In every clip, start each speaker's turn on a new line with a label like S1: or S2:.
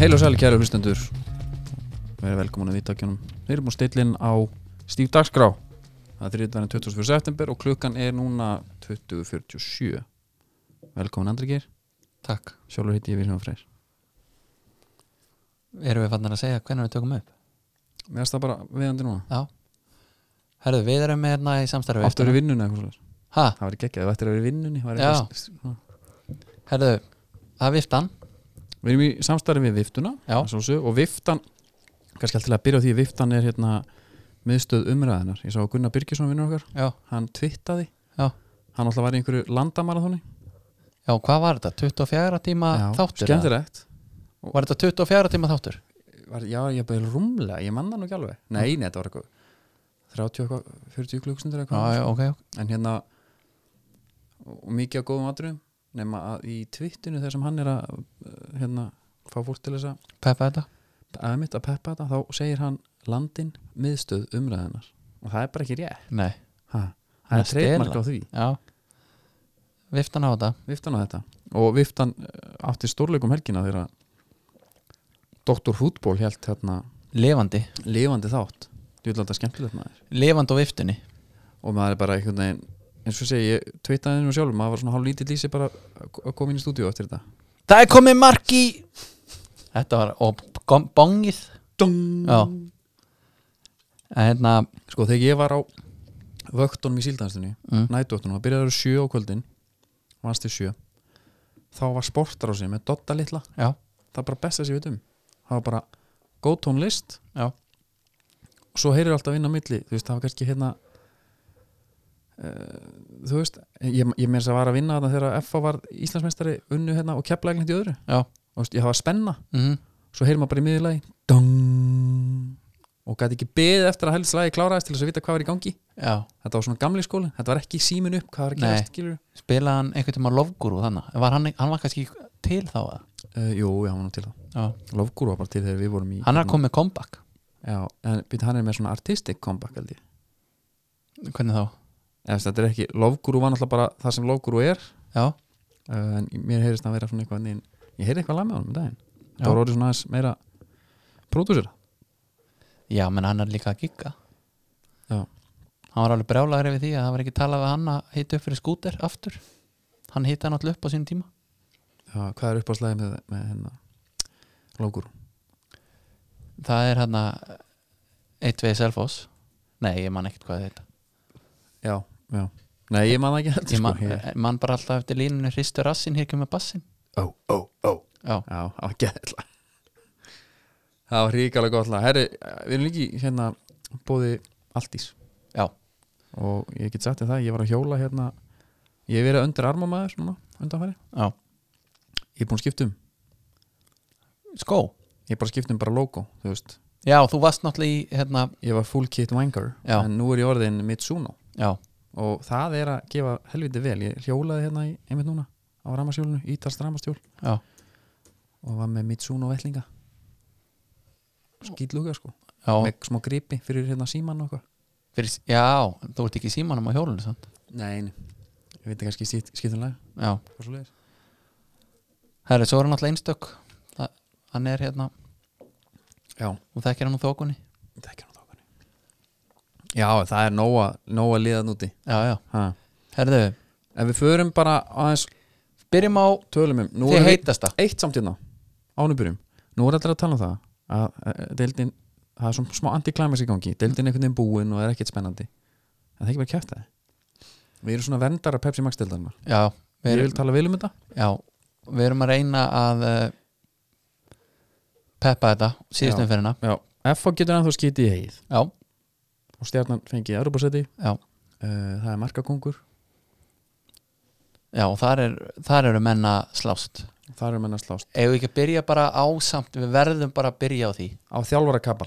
S1: Heil og sæli kæru hlustendur Verið velkomin að viðtakjunum Við erum á steillin á Stíf Dagskrá Það er þriðdæðan 24. september og klukkan er núna 20.47 Velkomin Andri Geir
S2: Takk.
S1: Sjálfur heiti ég Vilhelm Freyr
S2: Erum við fannar að segja hvernig við tökum upp?
S1: Mér erst það bara viðandi núna
S2: Já. Herðu, við erum með hérna í samstarfi.
S1: Aftur í vinnunni eitthvað svolítið
S2: Hæ,
S1: Það var ekki ekki, það ættir að vera í vinnunni væri
S2: Já.
S1: fyrst- svona.
S2: herðu, það er viftan.
S1: Við erum í samstarfi við Viftuna
S2: Já.
S1: að sjálfsögðu, Og Viftan, kannski alltaf að byrja á því Viftan er hérna miðstöð umræðinar Ég sá að Gunnar Birgisson vinnur okkar
S2: Já.
S1: Hann twittaði
S2: Já.
S1: Hann alltaf var í einhverju landamarathoni
S2: Já, hvað var þetta? 24 tíma
S1: Já,
S2: þáttur? eða?
S1: skemmtilegt
S2: Var þetta 24 tíma þáttur?
S1: var, já, ég bæði rúmlega, ég manna nú ekki alveg nei, nei, þetta var eitthvað 30 eitthvað, 40 klukkstundir
S2: Mm.
S1: eitthvað
S2: Já, já, ok. ok.
S1: en hérna og mikið af góðum atriðum nema að í tvittinu þegar sem hann er að uh, hérna, fá fólk til þess að
S2: Peppa þetta.
S1: að mitt að peppa þetta, þá segir hann landin miðstöð umræðinar og það er bara ekki rétt
S2: Nei.
S1: ha, það
S2: Hann er
S1: er treymark á
S2: stela.
S1: því,
S2: Já. Viftan á þetta.
S1: viftan á þetta og viftan uh, átti stórleikum helgina þegar að Dr. Hútból held hérna
S2: Levandi.
S1: lifandi þátt, þú vil alltaf skemmtilegt maður
S2: Levandi á viftunni.
S1: og maður er bara einhvern veginn eins og segi, ég tveitaði henni sjálf maður var svona hálf lítið lýsi bara að koma inn í stúdíu eftir þetta
S2: Það er komið mark í... Þetta var, og gom- bongið.
S1: Dung!
S2: Já. En hérna,
S1: sko þegar ég var á vöktunum í síldanstunni
S2: Mm.
S1: nættvöktunum, það byrjaði að vera sjö á kvöldin vannst til sjö þá var sportar á sig með Dotta litla
S2: já,
S1: það er bara besta sem ég veit um það var bara góð tónlist
S2: Já.
S1: og svo heyrir alltaf inn á milli þú veist, það var kannski hérna uh, þú veist ég, ég meins að var að vinna þarna þegar FA var Íslandsmeistari unnu hérna og kepla í öðru
S2: já.
S1: og veist, ég hafa spenna,
S2: Mm
S1: svo heyrir maður bara í miðurlagi dong og gæti ekki beðið eftir að helslagi kláraðist til þess að vita hvað var í gangi
S2: Já.
S1: þetta var svona gamli skóli, þetta var ekki símin upp hvað var að
S2: Nei.
S1: gerast, skilur
S2: spilaði hann einhvern tímann lofgúru þannig, var hann, hann var kannski til þá eða?
S1: uh, jú, já, hann var nú til það
S2: Já.
S1: Lofgúru var bara til þegar við vorum í hérna.
S2: hann er að koma með comeback
S1: já, en býtt hann er með svona artistic comeback held ég
S2: hvernig þá?
S1: Eða, þú veist, þetta er ekki, lofgúru var náttúrulega bara það sem lofgúru er
S2: Já,
S1: uh, en mér heyrist að vera svona eitthvað en ég heyrði eitthvað lag með honum um daginn
S2: Já.
S1: þetta var orðið svona aðeins meira prodúsera
S2: já, menn hann er líka að gigga
S1: Já.
S2: hann var alveg brjálagur yfir því að það var ekki talað við hann að hita upp fyrir skúter aftur hann hita hann allir upp á sínum tíma
S1: já, hvað er uppáðslega með, með hérna lofgúru,
S2: það er hann að eitt veið selfos nei, ég man ekkert hvað þetta
S1: já, já nei, ég man það ekki heldur
S2: ég man, eh,
S1: sko, ég,
S2: man bara alltaf eftir línunni hristu rassin hér kemur bassin
S1: ó, ó, ó
S2: já,
S1: já, það var gæðla það var ríkalega gott lag herri, við erum líki hérna bóði Aldís
S2: já,
S1: og ég get sagt þér það, ég var að hjóla hérna ég hef verið undir armamaður núna, undanfæri
S2: já
S1: ég er búin að skipta um,
S2: skó,
S1: ég er bara að skipta um bara logo þú veist,
S2: já, þú varst náttúrulega í hérna,
S1: ég var full kit wanker
S2: Já.
S1: en nú er ég orðin Mitsuno
S2: já,
S1: og það er að gefa helviti vel ég hjólaði hérna í, einmitt núna á ramasjólinu, ítalst ramastjól
S2: já
S1: og var með Mitsuno vellinga skýtluga sko
S2: Já,
S1: með smá gripi fyrir hérna síman og eitthvað
S2: fyrir, já, þú ert ekki í símanum á hjólunum sant?
S1: Nei, nei. ég veit ekki skýt, um skýtunlega
S2: Já, herri, svo er hann alltaf einstök Þa, Hann er hérna,
S1: Já,
S2: þú þekkir hann úr þókunni
S1: það er ekki hann tókunni Já, það er nóga, nóga liðan úti
S2: Já, já,
S1: ha.
S2: herðu,
S1: Ef við förum bara aðeins
S2: byrjum á
S1: tölum um Nú
S2: Þið
S1: erum við
S2: heitasta
S1: eitt samt hérna Ánubyrjum, nú er allir að tala um það að, að deildin, það er svona smá antiklæmis í gangi, deildin er einhvern veginn búin og er ekkert spennandi en það er ekki bara kæft það Við erum svona verndar að Pepsi Max deildarna
S2: Já, við
S1: Ég vil
S2: erum,
S1: tala vel um þetta
S2: já, við erum að reyna að uh, peppa þetta
S1: Já.
S2: síðustum fyrir hana
S1: Já, FH getur ennþá skítið í heið
S2: Já,
S1: og stjarnan fengið Europaseti
S2: já,
S1: Eh, það er markakongur
S2: já, og þar, er, þar eru menn að slást
S1: þar er menn að slást
S2: Ef við ekki að byrja bara á samt Við verðum bara að byrja á því
S1: á þjálfara kapal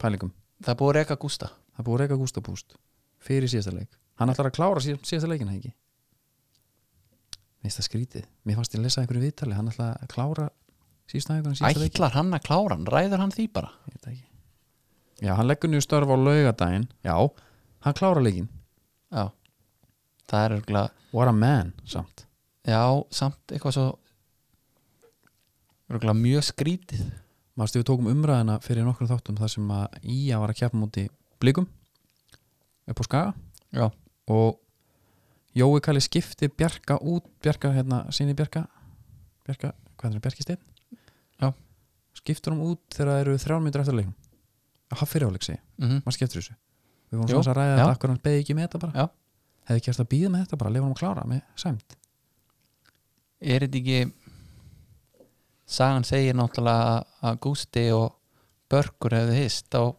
S1: pælingum,
S2: Það er búið að reka Gústa
S1: það er búið að reyka Gústa Búst fyrir síðasta leik, hann ætlar að klára síð, síðasta leikina ekki minnst það skrítið, mér fannst ég að lesa einhverju viðtali, hann ætlar að klára síðasta leikina síðasta leik
S2: Ætlar hann að klára hann, ræður hann því bara
S1: Ég veit það ekki. já, hann leggur nýju störf á laugadaginn já, hann klára leikin
S2: Já, það er örgulega
S1: what a man, samt
S2: Já, samt eitthvað svo örgulega mjög skrítið
S1: Manstu við tókum umræðina fyrir nokkrum þáttum þar sem að Ía var að keppa múti blikum upp á skaga
S2: Já.
S1: og Jói Kalli skipti Bjarka út Bjarka, hérna, sinni Bjarka Bjarka, hvað er það, Bjarki Steinn
S2: Já.
S1: skiptur hann út þegar það eru þrjármyndur eftir leikum að fyrir áleik segi,
S2: mm
S1: maður skiptur þessu við vorum
S2: Jú,
S1: svona að ræða
S2: já.
S1: þetta, akkur hann beði ekki með þetta bara
S2: Já.
S1: hefði gert að býða með þetta bara, lifa hann að klára með sæmt
S2: Er þetta ekki Sagan segir náttúrulega að Gústi og Börkur hefðu hist á,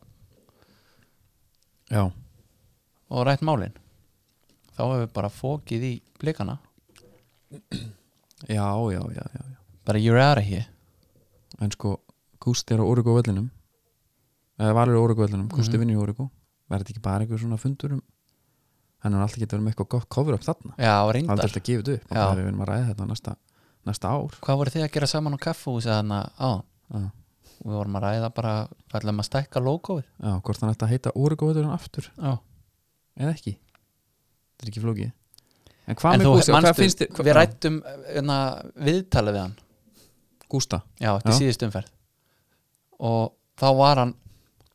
S1: Já,
S2: og rætt málin þá hefur bara fókið í blikana
S1: já, já, já, já.
S2: bara you're out of here
S1: en sko Gústi er á Órygó vellinum eða Valur er á Órygó vellinum, Gústi
S2: Mhm.
S1: vinnur í Órygó verður þetta ekki bara einhver svona fundur um hann er alltaf getið að vera með eitthvað gott cover up þarna
S2: Já,
S1: hann er
S2: reyndar,
S1: alltaf að gefa þetta upp
S2: Já.
S1: og við vinnum að ræða þetta næsta, næsta ár
S2: hvað voru þið að gera saman á kaffúsi þannig að á,
S1: já,
S2: við vorum að ræða bara við ætlum að stækka logoið
S1: já, hvort hann ætti að heita Órygó vellurinn aftur
S2: Já,
S1: eða ekki þetta er ekki flókið en hvað
S2: en
S1: með
S2: þú
S1: Gústi, hvað
S2: manstu,
S1: finnst þér
S2: við rættum enna, viðtalið við hann
S1: Gústa,
S2: Já, þetta
S1: Já.
S2: er síðust umferð og þá var hann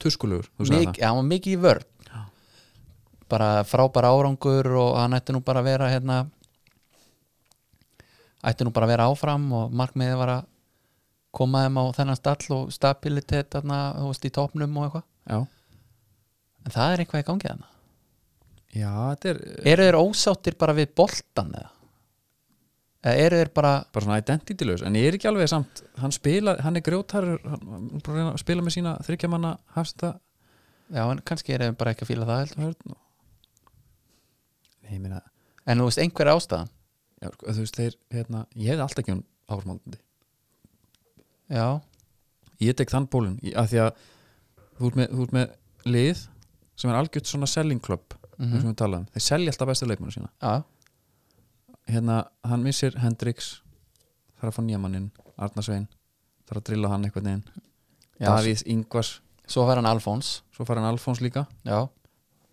S1: tuskulegur, þú sagði
S2: mikið, hann var mikið í vörn bara frábæra árangur og hann ætti nú bara að vera hérna ætti nú bara að vera áfram og markmiðið var að koma þeim á þennan stall og stabilitet þarna, þú veist, í topnum og eitthvað
S1: það já,
S2: en það er eitthvað í gangi þarna
S1: já, þetta er eh,
S2: eru þeir ósáttir bara við boltan eða, eða eru þeir bara
S1: bara svona identity laus, en ég er ekki alveg samt hann spila, hann er grjótarur hann, hann er bara að reyna að spila með sína þryggjamanna hafsta
S2: já, en kannski eru þeir bara ekki að fíla það heldur
S1: Örn og Nei, ég meina
S2: en þú veist, einhver er ástæðan
S1: já, sko, þú veist, þeir, hérna, ég hefði alltaf ekki um áframhaldandi,
S2: já,
S1: ég tek þann bólun af því að þú ert með, þú ert með lið sem er algjört svona selling club,
S2: mm
S1: mm. sem við talaðum þeir selja alltaf bestu leikmennu sína
S2: já,
S1: hérna, hann missir Hendrix þarf að fá nýjamanninn, Arnarsvein þarf að drilla hann eitthvað neginn
S2: já
S1: Davís Ingvars,
S2: svo var hann Alfons
S1: svo fara hann Alfons líka
S2: já,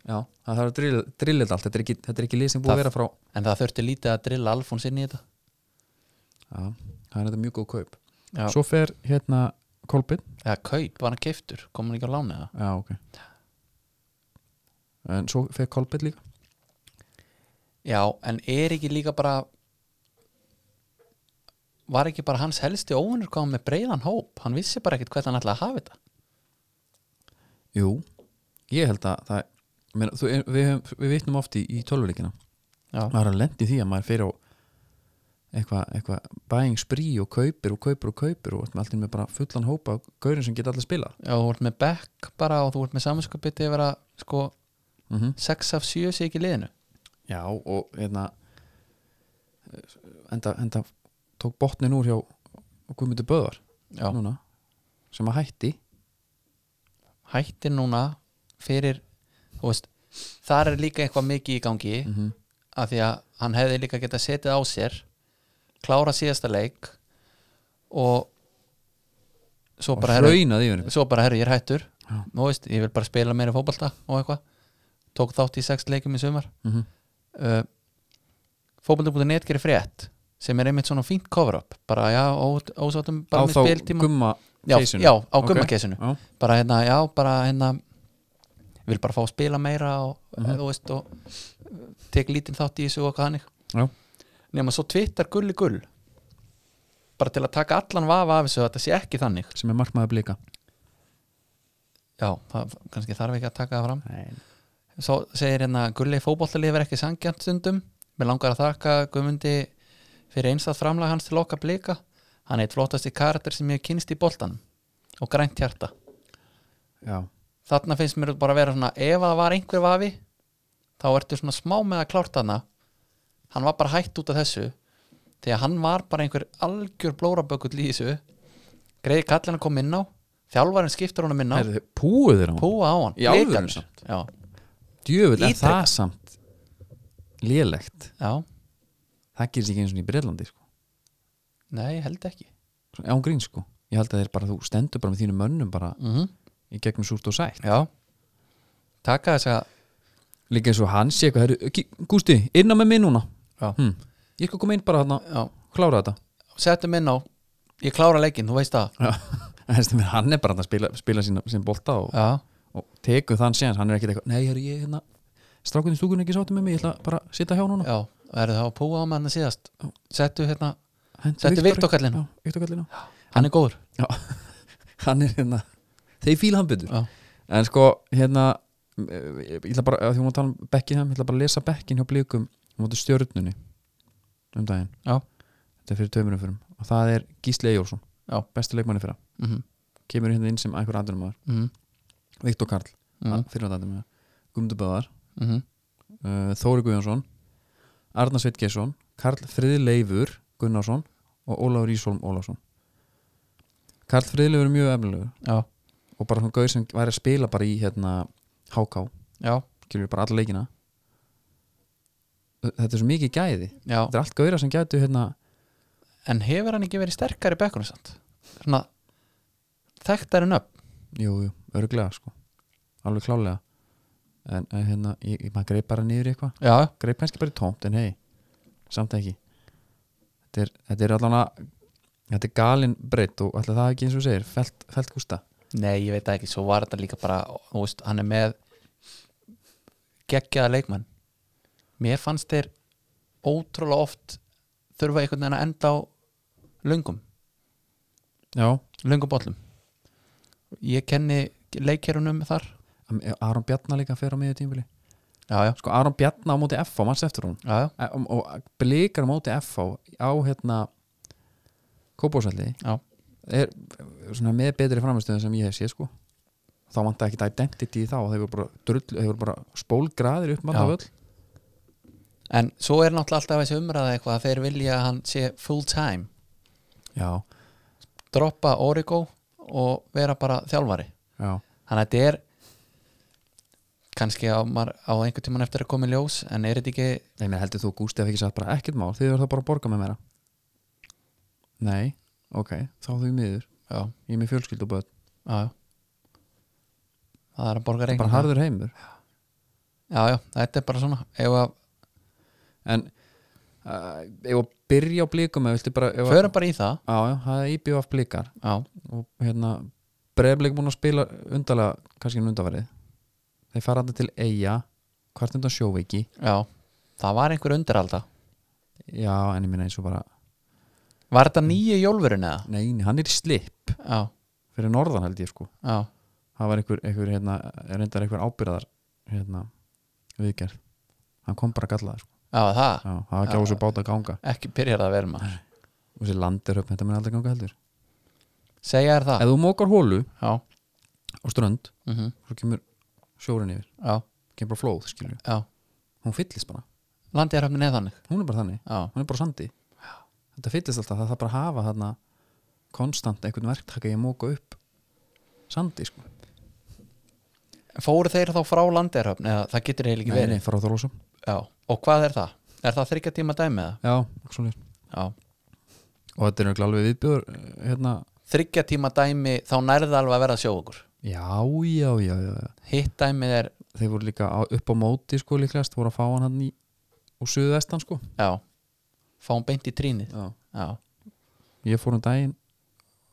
S1: já, það þarf að drilla, drilla þetta allt þetta er ekki, þetta er ekki lið sem búið að
S2: Það-
S1: vera frá
S2: en það þurfti lítið að drilla Alfons inn í þetta
S1: já, það er þetta mjög góð kaup
S2: já,
S1: svo fer hérna Kolbin
S2: eða kaup, var hann keiftur kom hann ekki á láni það
S1: Já, ok En svo fekk Kolbett líka
S2: já, en er ekki líka bara var ekki bara hans helsti óvinnur hvað hann með breiðan hóp hann vissi bara ekkit hvernig hann ætlaði að hafa þetta
S1: Jú, ég held að það menn, þú, við, höfum- við vitnum oft í, í tölvuleikina
S2: já,
S1: maður er að lendi því að maður fyrir á eitthvað, eitthvað bæing sprí og kaupir og kaupir og kaupir og allt með bara fullan hópa af gaurin sem geta allir spila
S2: já þú ert með Beck bara og þú ert með samanskapið yfir að sko
S1: mm
S2: 6 af 7 sé ekki í liðinu
S1: Já, og hérna enda, enda tók botnin úr hjá Guðmundur Böðar
S2: já,
S1: núna sem að hætti
S2: hættir núna fyrir, þú veist þar er líka eitthvað mikið í gangi
S1: mm -hmm.
S2: af því að hann hefði líka geta setið á sér klára síðasta leik og svo
S1: og
S2: bara herru,
S1: hraunaði yfir einhvern.
S2: svo bara herru, ég er hættur
S1: Já.
S2: nú veist, ég vil bara spila meira fótbalta og eitthvað tók þátt í sex leikum í sumar
S1: Mhm.
S2: uh, fótbalta.net gerir frétt sem er einmitt svona fínt cover-up bara já, ó-
S1: á
S2: ósáttum bara með
S1: þá
S2: spiltíma
S1: gumma
S2: já,
S1: keisinu.
S2: já, á
S1: Ok.
S2: gummakesinu
S1: Já.
S2: bara hérna, já, bara hérna ég vil bara fá að spila meira og, mm
S1: Mhm.
S2: -hmm. veist, og eh, tek lítinn þátt í þessu og hvað hannig
S1: Já.
S2: nema svo tvittar gulli gull bara til að taka allan vafa af þessu að þetta sé ekki þannig
S1: sem er markmaður blika
S2: já, það, kannski þarf ekki að taka það fram
S1: Nei.
S2: svo segir hérna gulli fótbollalið er ekki sangjant stundum mér langar að þakka Guðmundi fyrir einstað framlag hans til okkar blika hann er eitt flottasti karakter sem ég hef kynst í boltanum og grænt hjarta
S1: Já,
S2: þarna finnst mér bara að vera svona ef að það var einhver vafi þá ertu svona smá með að klárt hana hann var bara hætt út af þessu því að hann var bara einhver algjör blórabökull í þessu greiði kallin að koma inn á þjálfarinn skiptur honum inn á
S1: Heyrðu, púið þeir á hann
S2: púa á hann
S1: Í alvöru
S2: Blikarnir.
S1: samt?
S2: já,
S1: Djöfull er
S2: Ítreka.
S1: það samt lélegt
S2: já,
S1: Það gerist ekki eins og í Breitlandi sko.
S2: nei, held ekki
S1: Svona án grín sko Ég held að þeir bara, þú stendur bara með þínum mönnum bara
S2: mm
S1: í gegnum súrt og sætt
S2: já taka þess að
S1: Líka eins og hann sé eitthvað, heru, Gústi, inna með mig núna
S2: Já.
S1: hm. Ég skal koma inn bara þarna
S2: já,
S1: klára þetta
S2: settum inn á ég klára leikinn, þú veist það
S1: Já. En þessi með hann er bara þarna að spila, spila sín, sín bolta og,
S2: já,
S1: og tekur þann séns, hann er ekkit eitthvað nei, heyrðu, ég er hérna, strákunni stúkunni ekki sáttu með mig ég ætla bara að sitja hjá núna
S2: já verður það að púa á með hann síðast
S1: Já.
S2: settu hérna,
S1: Hentu
S2: Þetta er Viktor kallinn.
S1: Já, Viktor kallinn, já.
S2: hann er góður
S1: hann er hérna þeir fíla hann betur
S2: Já.
S1: en sko hérna eh, ég ætla bara, af því hún var að tala um bekkin hann, ég ætla bara að lesa bekkin hjá blíkum hún var stjörnunni um daginn
S2: Já.
S1: þetta er fyrir tveimur umfyrum og það er Gísli Ejjólfsson
S2: Já.
S1: besti leikmanni fyrra,
S2: mm -hmm.
S1: kemur hérna inn sem einhver aðdunumæður,
S2: Mm
S1: Viktor Karl
S2: -hmm.
S1: mm. fyrir aðdunumæður, Gumduböðar
S2: Mm -hmm.
S1: uh, Þóri Guðjónsson Arna Sveitgeisson, Karl Friðleifur Gunnarsson og Ólafur Ísholm Ólafsson Karl Friðleifur er mjög efnilegur
S2: já,
S1: og bara svona gauð sem væri að spila bara í hérna háká,
S2: já,
S1: skilur bara alla leikina þetta er svo mikið gæði
S2: já
S1: þetta er allt gauðra sem gætu hérna
S2: en hefur hann ekki verið sterkari í bekkunum samt svona þekktari nöfn
S1: jú, jú, örglega sko alveg klálega en en hérna, ég, ég- maður greip bara niður í eitthvað
S2: já,
S1: greip kannski bara í tómt, en hei samt ekki þetta er, þetta er allan að þetta er galin breytt og alltaf það ekki eins og þú segir felt, felt gústa
S2: Nei, ég veit það ekki, svo var þetta líka bara þú veist, hann er með geggjaða leikmann mér fannst þeir ótrúlega oft þurfa einhvern veginn að enda á löngum,
S1: já,
S2: löngum bollum ég kenni leikherunum þar,
S1: Aron Bjarnar líka fer á miðju tímbili
S2: já já,
S1: sko Aron Bjarnar á móti F á manns eftir hún
S2: já, já.
S1: og, og blikar á móti FH á hérna kópásvelli
S2: Já.
S1: er svona með betri framistöðum sem ég hef séð sko þá vantar ekki identity í þá þeir voru bara, drull, þeir voru bara spólgraðir upp
S2: Já.
S1: manna völl
S2: en svo er náttúrulega alltaf þessi umræða eitthvað að þeir vilja að hann sé full time
S1: já,
S2: droppa Origo og vera bara þjálfari
S1: já,
S2: þannig að þetta er kannski á, maður- á einhvern tímann eftir að koma í ljós en er þetta ekki
S1: nei mér heldur þú Gústi að ekki sagt bara ekkert mál, þið verður það bara að borga með mér nei, ok þá þau miður,
S2: já,
S1: ég er með fjölskyldu og börn.
S2: já, já. það er að borga
S1: bara
S2: reikning
S1: harður heimur
S2: já, já, þetta er bara svona ef að,
S1: en uh, ef að byrja á blikum ef viltu bara, ef að,
S2: förum bara í það
S1: já, já, það er íbjöf af blikar
S2: já,
S1: og hérna Breiðblik búin að spila undarlega kannski en undarverið þeir fara þetta til Eyja hvart undan sjóveiki
S2: já, það var einhver undiralda
S1: já en ég minna eins og bara
S2: var þetta nýju jólfurinn eða?
S1: nei nei, hann er í slip
S2: já,
S1: fyrir norðan held ég sko
S2: já,
S1: það var einhver, einhver hérna reyndar einhver ábyrðar hérna viðgerð hann kom bara gallaði sko
S2: já, það
S1: já, það var ekki á þessu báta að ganga
S2: ekki byrjar það vel maður
S1: og þessi landirhöfn þetta mun aldrei ganga heldur
S2: segja þér það
S1: ef þú mókar hólu
S2: já,
S1: á strönd
S2: mm
S1: svo kemur sjórun yfir
S2: já,
S1: kemur bara flóð skilur
S2: já
S1: hún fyllist bara
S2: landiðaröfnin er þannig
S1: hún er bara þannig
S2: já,
S1: hún er bara á sandi þetta fyllist alltaf, það þarf bara að hafa þarna konstant einhvern verktaka ég móka upp sandi sko
S2: fóru þeir þá frá landiðaröfn eða það getur eiginlega ekki
S1: nei,
S2: verið
S1: nei, fara á Þorlósum
S2: já, og hvað er það? er það þryggja tíma dæmi eða?
S1: já, svoleiðis.
S2: já,
S1: og þetta er örugglega alveg viðbjör hérna,
S2: þryggja tíma dæmi þá nærði alveg að vera sjóugur
S1: já, já, já, já já.
S2: hitt dæmið er,
S1: þeir voru líka á, upp á móti sko líklegast voru að fá hann hann í úr suðvestan sko
S2: já fáum beint í trínið
S1: já.
S2: já,
S1: ég fór um daginn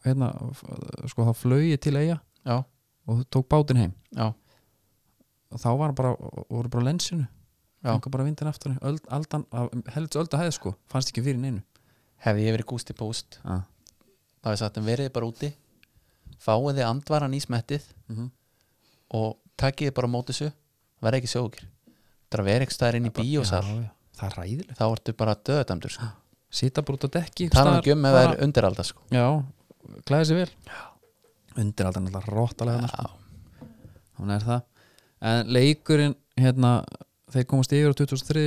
S1: hérna, f- sko það flög ég til eiga
S2: já,
S1: og tók bátinn heim
S2: já,
S1: og þá var bara, voru bara á lensinu
S2: Já.
S1: Fengu bara vindin aftur öld, aldan, helds ölda hæði sko fannst ekki fyrir neinu
S2: hefði ég verið gústi púst
S1: ah.
S2: þá hefði sagt um verið bara úti fáið þið andvaran í smettið
S1: mm
S2: og takkið þið bara á móti þessu verði ekki sjókir það verið ekki staðar inn í bíósal
S1: já, já. það er ræðilegt
S2: þá ertu bara döðdæmdur sko.
S1: sita bara út á dekki einhvers
S2: tala
S1: staðar,
S2: ekki um ef það
S1: bara-
S2: er undiralda sko.
S1: já, klæði sér vel undir alltaf sko. náttúrulega róttalega
S2: já,
S1: hún er það en leikurinn hérna þeir komast yfir á 2003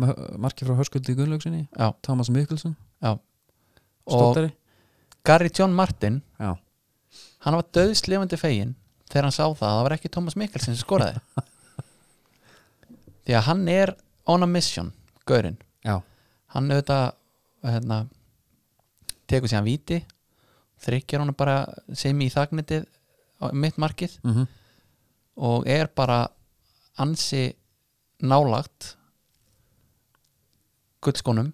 S1: með marki frá Hörskuldi Gunnlaugsinni
S2: já,
S1: Thomas Mikkelsen,
S2: já og
S1: stóttari
S2: Gary John Martin
S1: já,
S2: hann var döðslefandi fegin þegar hann sá það að það var ekki Thomas Mikkelsen sem skoraði því að hann er on a mission gaurinn,
S1: já,
S2: hann auðvitað hérna, tekur sér hann víti þryggjar hann bara sem í þagnitið á mitt markið
S1: mm
S2: og er bara ansi nálagt gullskónum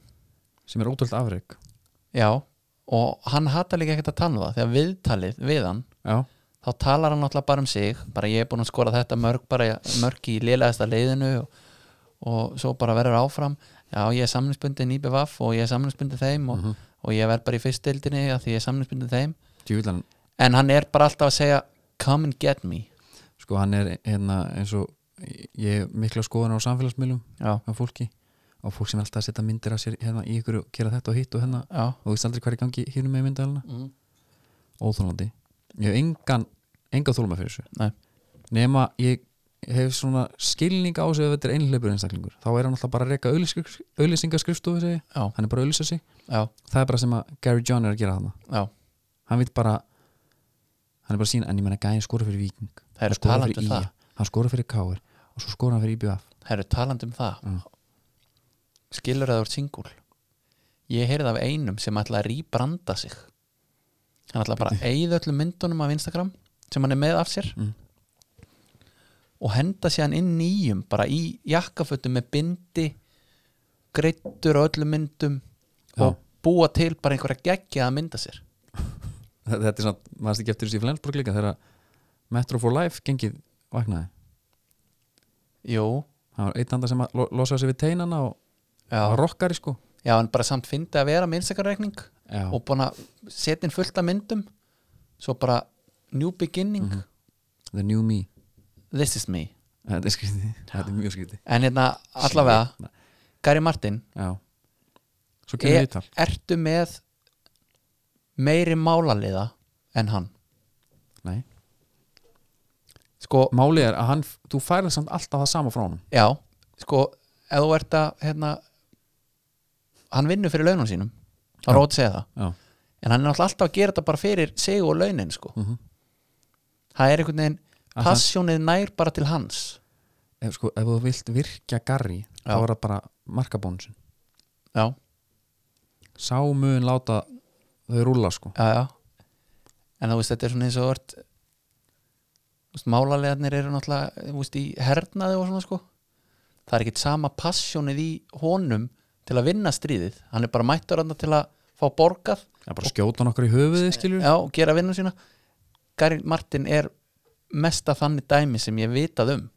S1: sem er ótrúld afreg
S2: já, og hann hatar líka ekkert að tala um það þegar viðtalið við hann
S1: já,
S2: þá talar hann náttúrulega bara um sig bara ég er búin að skora þetta mörg bara mörg í lélæðasta leiðinu og, og svo bara verður áfram já ég er samlingsbundin í BVF og ég er samlingsbundin þeim og,
S1: Mhm.
S2: og ég verð bara í fyrstildinni að því ég er samlingsbundin þeim
S1: djúvillan
S2: en hann er bara alltaf að segja come and get me
S1: sko hann er hérna eins og ég hef mikla skoðan á samfélagsmiðlum
S2: já,
S1: á fólki og fólk sem er alltaf að setja myndir af sér hérna í ykkur og gera þetta og hitt og hérna
S2: já,
S1: og þú veist aldrei hvað er í gangi hérna með myndalina
S2: mm.
S1: óþólandi ég hef engan, engan þólma fyrir þessu
S2: Nei.
S1: nema ég hef svona skilning á þessu ef þetta er einhleipur einstaklingur þá er hann alltaf bara að reyka auðlýsingaskrifstofu segi, ég.
S2: Já.
S1: hann er bara að auðlýsa sig
S2: já,
S1: það er bara sem að Gary John er að gera þarna
S2: já
S1: hann vil bara hann er bara að sína, en ég menna gæði skora fyrir Viking
S2: Það eru
S1: Hann skorar
S2: talandi
S1: fyrir
S2: um
S1: IA,
S2: það.
S1: hann skora fyrir KR og svo skora hann fyrir IBF
S2: það eru talandi um það
S1: Mm.
S2: skilur það úr singul ég heyrði af einum sem ætla að rýbranda sig hann ætla bara að eigða öllum myndunum af Instagram sem hann er með af sér
S1: Mm.
S2: og henda sér hann inn nýjum bara í jakkafötum með bindi greittur á öllum myndum
S1: Já.
S2: og búa til bara einhverja geggja að mynda sér
S1: Þa- þetta er svona, maður stík eftir þessu í Flensborg líka þegar að Metro for Life gengið vaknaði
S2: jú,
S1: það var einn andar sem að lo- losaði sig við teinana og það
S2: já,
S1: var rockari sko
S2: já en bara samt fyndi að vera með Instagram-reikning
S1: Já.
S2: og búin að setja inn fullt af myndum svo bara new beginning
S1: Mhm. The New Me
S2: this is me
S1: Þetta er skrítið, þetta er mjög skrítið
S2: en hérna allavega, Gary Martin
S1: Já Eh. Svo kemur
S2: er,
S1: við tal
S2: ertu með meiri málaliða en hann
S1: Nei.
S2: sko,
S1: Máli er að hann, þú færið samt alltaf það sama frá honum
S2: já sko, ef þú ert að hérna, hann vinnur fyrir launum sínum þá
S1: Já.
S2: rót segja það
S1: Já,
S2: en hann er náttúrulega alltaf að gera þetta bara fyrir sig og launin sko
S1: Mhm.
S2: það er einhvern veginn,
S1: Að hann-
S2: passjónið nær bara til hans
S1: ef, sko, ef þú vilt virkja Garri þá
S2: Já.
S1: er það bara markabónusin
S2: já,
S1: Sá mun láta þau rúlla sko
S2: já, já en þú veist, þetta er svona eins og ört málalegarnir eru náttúrulega þú veist, í hernaði og svona sko það er ekkit sama passjónið í honum til að vinna stríðið hann er bara mættur hann til að fá borgað
S1: Það er bara að skjóta nokkur í höfuðið skilur
S2: já, og gera vinnu sína Gary Martin er mesta þannig dæmi sem ég vitað um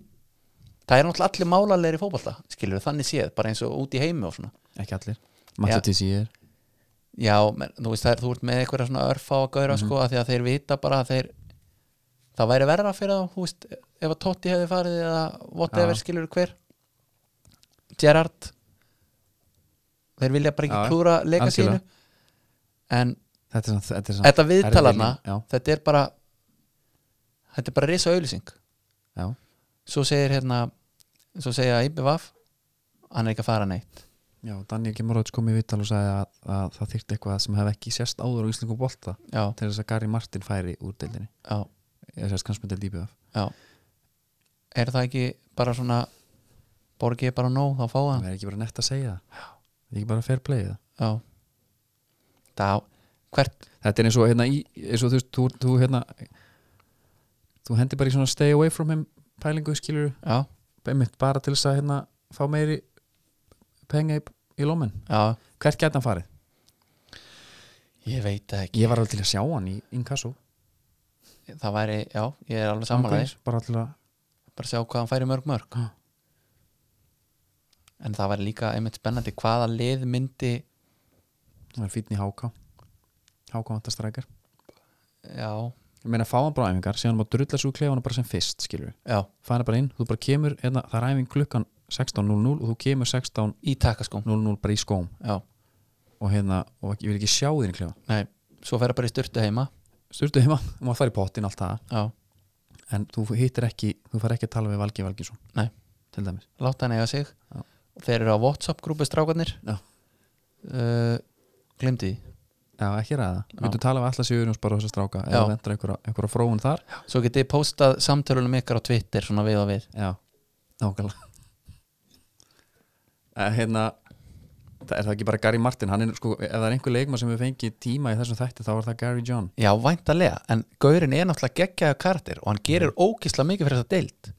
S2: það er náttúrulega allir málalegir í fótbolta skilur þannig séð, bara eins og út í heimi og svona
S1: Ekki allir Matti
S2: Já.
S1: til síðir
S2: Já, menn, þú veist það er, þú ert með einhverja svona örfá að gauðra
S1: Mhm.
S2: sko að því að þeir vita bara að þeir það væri verra fyrir þá, þú veist ef að Totti hefði farið eða whatever
S1: Já.
S2: skilur hver Gerard þeir vilja bara ekki
S1: Já,
S2: klúra leika sínu
S1: algjörlega.
S2: en
S1: Þetta er samt- þetta er samt
S2: þetta viðtalarna
S1: erfið lína.
S2: þetta er bara þetta er bara risa auðlýsing
S1: Já, já
S2: svo segir hérna svo segja IBVF hann er ekki að fara neitt
S1: Já, Daniel Gemmaróts kom í vital og sagði að, að það þyrfti eitthvað sem hef ekki sérst áður á Íslingum bolta
S2: já,
S1: til þess að Gary Martin færi úr deildinni
S2: já,
S1: eða sérst kannski með deild íbjöðaf
S2: já er það ekki bara svona borgið bara nóg þá fá hann
S1: það er ekki bara nett að segja það það er ekki bara fair play það
S2: já þá, hvert
S1: þetta er eins og hérna í, eins og þú veist þú, þú hérna þú hendir bara í svona stay away from him pælingu skilur
S2: já,
S1: einmitt bara til þess að hérna fá meiri penga í, í lómin
S2: já,
S1: hvert gæti hann farið?
S2: ég veit það ekki
S1: ég var alveg til að sjá hann í inkasso
S2: það væri, já, ég er alveg samanlega
S1: bara til að
S2: bara sjá hvað hann færi mörg mörg
S1: Já.
S2: en það væri líka einmitt spennandi hvaða lið myndi
S1: það er fýtni háká háká vantastrækjar
S2: já,
S1: ég meina fá hann bara á æfingar síðan má drulla svo klefana bara sem fyrst skilur
S2: já,
S1: fá hann bara inn þú bara kemur hérna það er æfing klukkan 16.00 og þú kemur 16.00
S2: í takaskóm
S1: bara í skóm
S2: já,
S1: og hérna og ekki- ég vil ekki sjá þín í um klefa
S2: nei, svo fer það bara í styrtu heima
S1: styrtu heima, maður þar í pottin allt það
S2: já,
S1: en þú hittir ekki, þú far ekki að tala við Valgi Valgisson
S2: nei,
S1: til dæmis
S2: láta hann eiga sig
S1: Já.
S2: og þeir eru á WhatsApp grúpi strákarnir
S1: Já.
S2: uh, glemdi því
S1: já, ekki ræða,
S2: Já.
S1: við myndum tala við alla sigurins bara þess að stráka eða
S2: Já.
S1: vendra einhverja, einhverja fróun þar
S2: svo getið þið postað samtölunum ykkar á Twitter svona við og við
S1: já, nákvæmlega Eh, hérna það er það ekki bara Gary Martin hann er sko, ef það er einhver leikma sem við fengið tíma í þessum þætti þá er það Gary John
S2: já, væntalega, en Gaurin er náttúrulega geggjaðu karakter og hann gerir ókisla mikið fyrir þessa deild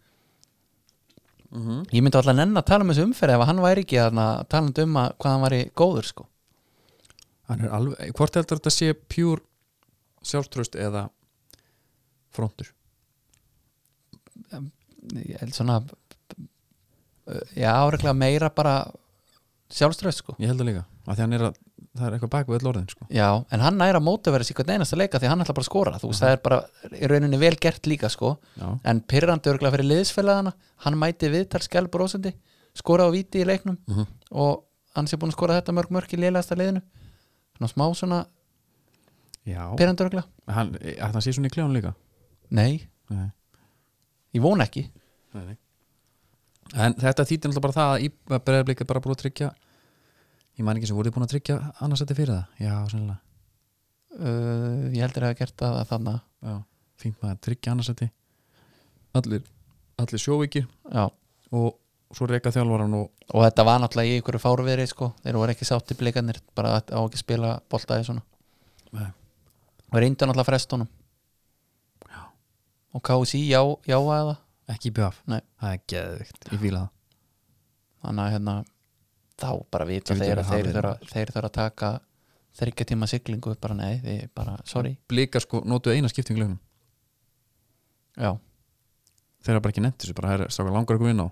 S1: mm -hmm.
S2: ég myndi alltaf nenn að tala um þessu umferð ef hann væri ekki þarna talandi um að hvað hann væri góður sko
S1: hann er alveg, hvort heldur þetta sé pjúr sjálftröst eða frontur
S2: ég held svona já, áreglega meira bara sjálfströð sko
S1: ég held það líka, af því hann er að það er eitthvað bak við öll orðin sko
S2: Já, en hann næra mótiverið sér hvern einasta leika því hann ætla bara að skora, þú veist, það er bara í rauninni vel gert líka, sko
S1: já,
S2: en pyrrandi örgulega fyrir liðsfélagana hann mæti viðtal skjálp rósandi skora á víti í leiknum
S1: Mhm.
S2: og hann sé búin að skora þetta mörg mörg í liðlegasta liðinu þannig að smá svona
S1: já.
S2: pyrrandi örgulega
S1: Hann, að hann sé svona í kljónu líka
S2: Nei,
S1: nei,
S2: ég vona ekki
S1: nei, nei. en þetta þýttir náttúrulega bara það að í breyðablik er bara búin að tryggja ég man ekki sem voruð þið búin að tryggja annars þetta fyrir það, já, sennilega
S2: uh, ég heldur að hafa gert það þannig
S1: já, fínt maður að tryggja annars þetta allir, allir sjóvíkir
S2: Já,
S1: og svo reyka þjálfaran og
S2: og þetta var náttúrulega í ykkur fárviðri, sko þeir voru ekki sátti blikarnir, bara að- á ekki að spila boltaði svona
S1: Nei.
S2: og reyndu náttúrulega frestunum
S1: Já.
S2: og KSI já, já að það
S1: ekki í BF,
S2: Nei.
S1: það er geðvikt ég fíla það
S2: þannig að hérna þá bara vita
S1: Ég veit
S2: þeir
S1: alveg
S2: að
S1: hafið
S2: þeir
S1: þeir
S2: þurfa þeir þurfa að taka þryggja tíma siglingu bara nei, þið bara, sorry
S1: blika sko, notuðu eina skiptingu í leiknum
S2: já,
S1: þeir eru bara ekki nefnt þessu, bara það er stáka langar ykkur inn á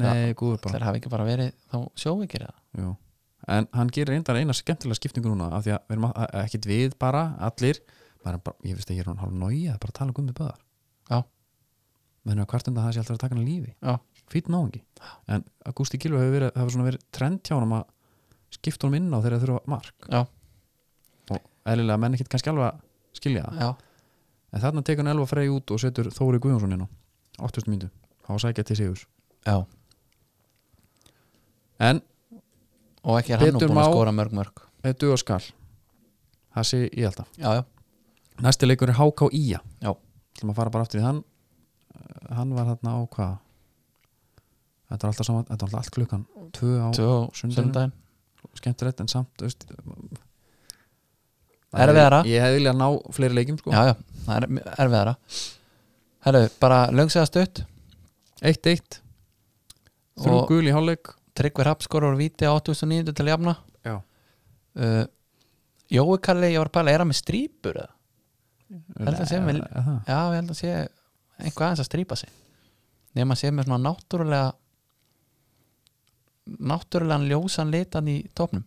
S1: nei, góður bara
S2: þeir hafi ekki bara verið þá sjóum ekki það
S1: Jú. en hann gerir eindar eina skemmtilega skiptingu núna af því að við erum að- að- ekkit við bara allir, bara, bara, ég veist að ég er hann hálf nóið bara að tala um Gummi Böðar
S2: Já.
S1: menn að hvart undan það sé alltaf að taka hann að lífi
S2: Já.
S1: fýtt náungi, en Agústi Gilvi hefur verið, hefur svona verið trend hjá hann að skipta honum inn á þegar þeir þurfa mark
S2: Já.
S1: og eðlilega menn ekkit kannski alveg að skilja það
S2: já,
S1: en þarna tekur hann elva frey út og setur Þóri Guðjónsson inn á 8000 myndu, þá sækja til sigur
S2: já,
S1: en
S2: og ekki er hann nú
S1: Betur
S2: búin að
S1: má-
S2: skora mörg mörg
S1: þetta duga skal það sé ég alltaf
S2: já, já,
S1: Næsti leikur er HK Ía
S2: Já.
S1: ætlum að fara bara aftur í þann Eh, hann var þarna á hvað þetta er alltaf saman, þetta er alltaf allt klukkan tvö á
S2: tvö og
S1: sundinu.
S2: sundaginn
S1: skemmt rétt en samt þú veist,
S2: Erfiðara.
S1: ég hefði viljað ná fleiri leikim sko.
S2: já, já, það er erfiðara herru, bara löngsega stutt
S1: 1-1 þrjú
S2: Og-
S1: gul í hálfleik
S2: Tryggvi Rapp skorur víti á 8.900 til að jafna
S1: já.
S2: uh, Jói Kalli, ég var að pæla, er hann með strýpur eða? Held að sé
S1: Er-
S2: vel-
S1: er Eh, það?
S2: Já, ég held að sé einhvað aðeins að strýpa sig nema sé með svona náttúrulega náttúrulegan ljósan litan í topnum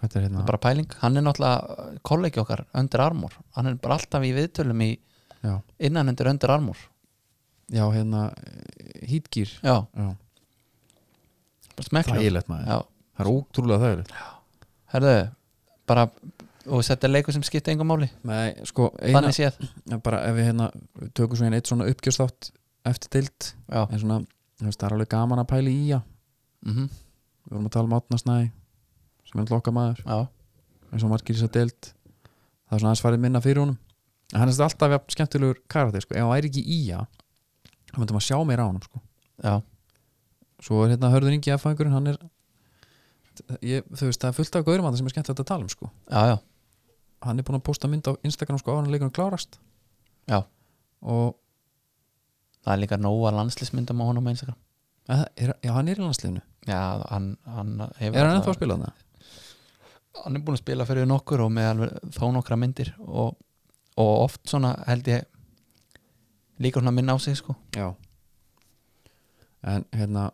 S1: þetta er
S2: það
S1: hérna
S2: er bara pæling, hann er náttúrulega uh, kollegi okkar Under Armour, hann er bara alltaf í viðtölum í
S1: já,
S2: innan undir Under Armour
S1: já, hérna hítgýr
S2: já,
S1: það
S2: bara smekklu
S1: er ílegt maður,
S2: já,
S1: það er ótrúlega þægilegt
S2: herðu, bara og þetta er leikur sem skipta engum máli
S1: Nei, sko, eina,
S2: þannig séð,
S1: Já, bara ef við hérna tökum svo hérna eitt svona uppgjörstátt eftir deilt
S2: já
S1: en svona, þú veist, það er alveg gaman að pæla í að
S2: mm
S1: við vorum að tala um átnarsnæ sem er lokka maður
S2: já,
S1: eins og margir í þess að deilt það er svona aðeins farið minna fyrir honum en hann er samt alltaf jafn skemmtilegur karakter sko. ef hann væri ekki í að þá myndum að sjá meira á honum sko.
S2: já,
S1: svo er hérna hörður ingi aðfæðingurinn hann er ég, þú veist, það er fullt af gaurum að það sem er skemmtilegt að tala um sko.
S2: já, já,
S1: hann er búin að posta mynd á Instagram sko, á hann leikunum klárast
S2: Já.
S1: og
S2: það er líka nóga landslismyndum á honum á Instagram
S1: að, eh, er, já, hann er í landsliðinu
S2: já, hann, hann hefur
S1: er hann
S2: alla-
S1: ennþá að spila þarna?
S2: hann er búin að spila fyrir nokkur og með alveg þó nokkra myndir og, og oft svona held ég líka svona minna á sig sko
S1: Já En hérna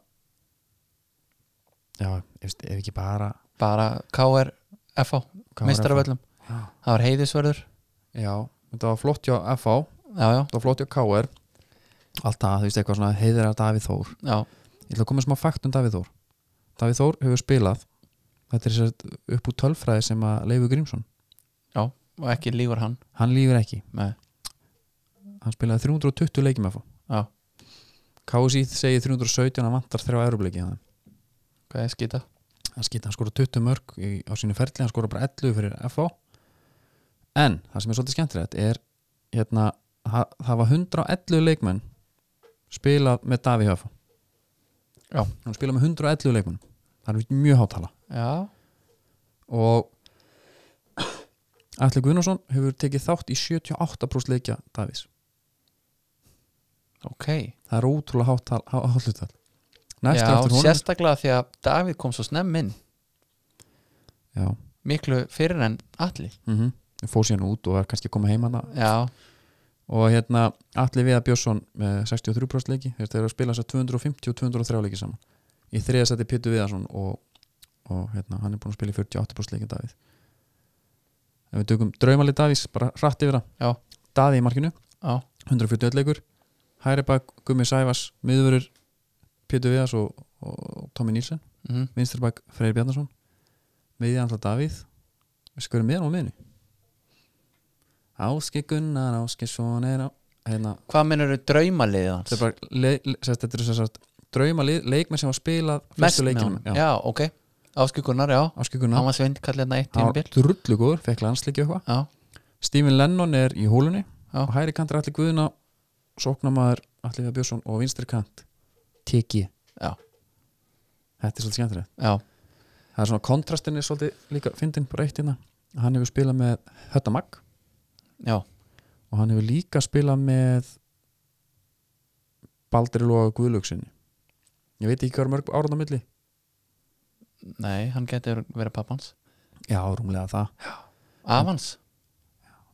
S1: Já, ef, ef ekki bara
S2: bara KR, FH,
S1: KR,
S2: meistaraföllum
S1: Já.
S2: það var heiðisverður
S1: Já, þetta var flott hjá FH Þetta
S2: já, já,
S1: var flott hjá KR Allt það, þú veist eitthvað svona heiðir að Davíð Þór
S2: já,
S1: Ég ætla að koma með smá fakt um Davíð Þór Davíð Þór hefur spilað Þetta er sér upp úr tölfræði sem að Leifur Grímsson
S2: og ekki lífur hann
S1: Hann lífur ekki,
S2: Nei.
S1: hann spilaði 320 leikjum FH
S2: já,
S1: KSI segir 317, hann vantar þrjá erubleiki hann
S2: hvað er skýta
S1: hann skýta, hann skora 20 mörg í, á sínu ferli, hann skora bara 11 fyrir FH en það sem er svolítið skemmtilegt er hérna, ha- það var 111 leikmenn spilað með Daví Höf
S2: Já.
S1: hann spilað með 111 leikmenn það er mjög hátala
S2: já,
S1: og Atli Guðnarsson hefur tekið þátt í 78% leikja Davís
S2: ok
S1: það er ótrúlega hátal, há, hátlutal
S2: já,
S1: næstu eftir honum
S2: sérstaklega því að Davíð kom svo snemm inn
S1: já,
S2: miklu fyrir en allir
S1: mm -hmm. fór síðan út og var kannski að koma heim hana
S2: já,
S1: og hérna Atli Viða Björnsson með 63% leiki þeir eru að spila þess að 250 og 203 leiki saman í þriða seti Pétur Viðarsson og, og hérna, hann er búin að spila í 48% leiki Davíð ef við tökum draumalið Davís, bara hratt yfir
S2: Já.
S1: það Daði í markinu,
S2: já,
S1: 141 leikur Hæri bak, Gummi Sævas, miðurverur Pétur Viðars og, og Tommy Nílsen,
S2: mhm,
S1: vinstri bak Freyr Bjarnason miðið alltaf Davíð við skurum miðan á miðinu Áski Gunnar Áskisson er á hérna,
S2: hvað mennur draumaliðið hans
S1: þetta er bara le, le, sérst, þetta er sérst, drauma lið, leikmenn sem var spilað
S2: mest
S1: fyrstu
S2: með
S1: leikinum
S2: honum, já, ok Áskugunar, já, hann
S1: áskikuna,
S2: var sveind kallið hérna eitt
S1: hann
S2: tímabil
S1: var drullu góður fekk landsleiki og eitthvað,
S2: já,
S1: Stephen Lennon er í hólunni
S2: Já.
S1: og hæri kantur allir guðuna sóknamaður allir við Björnsson og vinstri kant tiki,
S2: Já.
S1: þetta er svolítið skemmtilegt
S2: já,
S1: það er svona kontrastin er svolítið líka fyndin bara eitt hérna, hann hefur spilað með Hötta Mag
S2: já,
S1: og hann hefur líka spilað með Baldri Lóa Guðlöksinni ég veit ekki hvað er mörg áraðna milli
S2: nei, hann geti verið pappans
S1: já, rúmlega það
S2: Avans,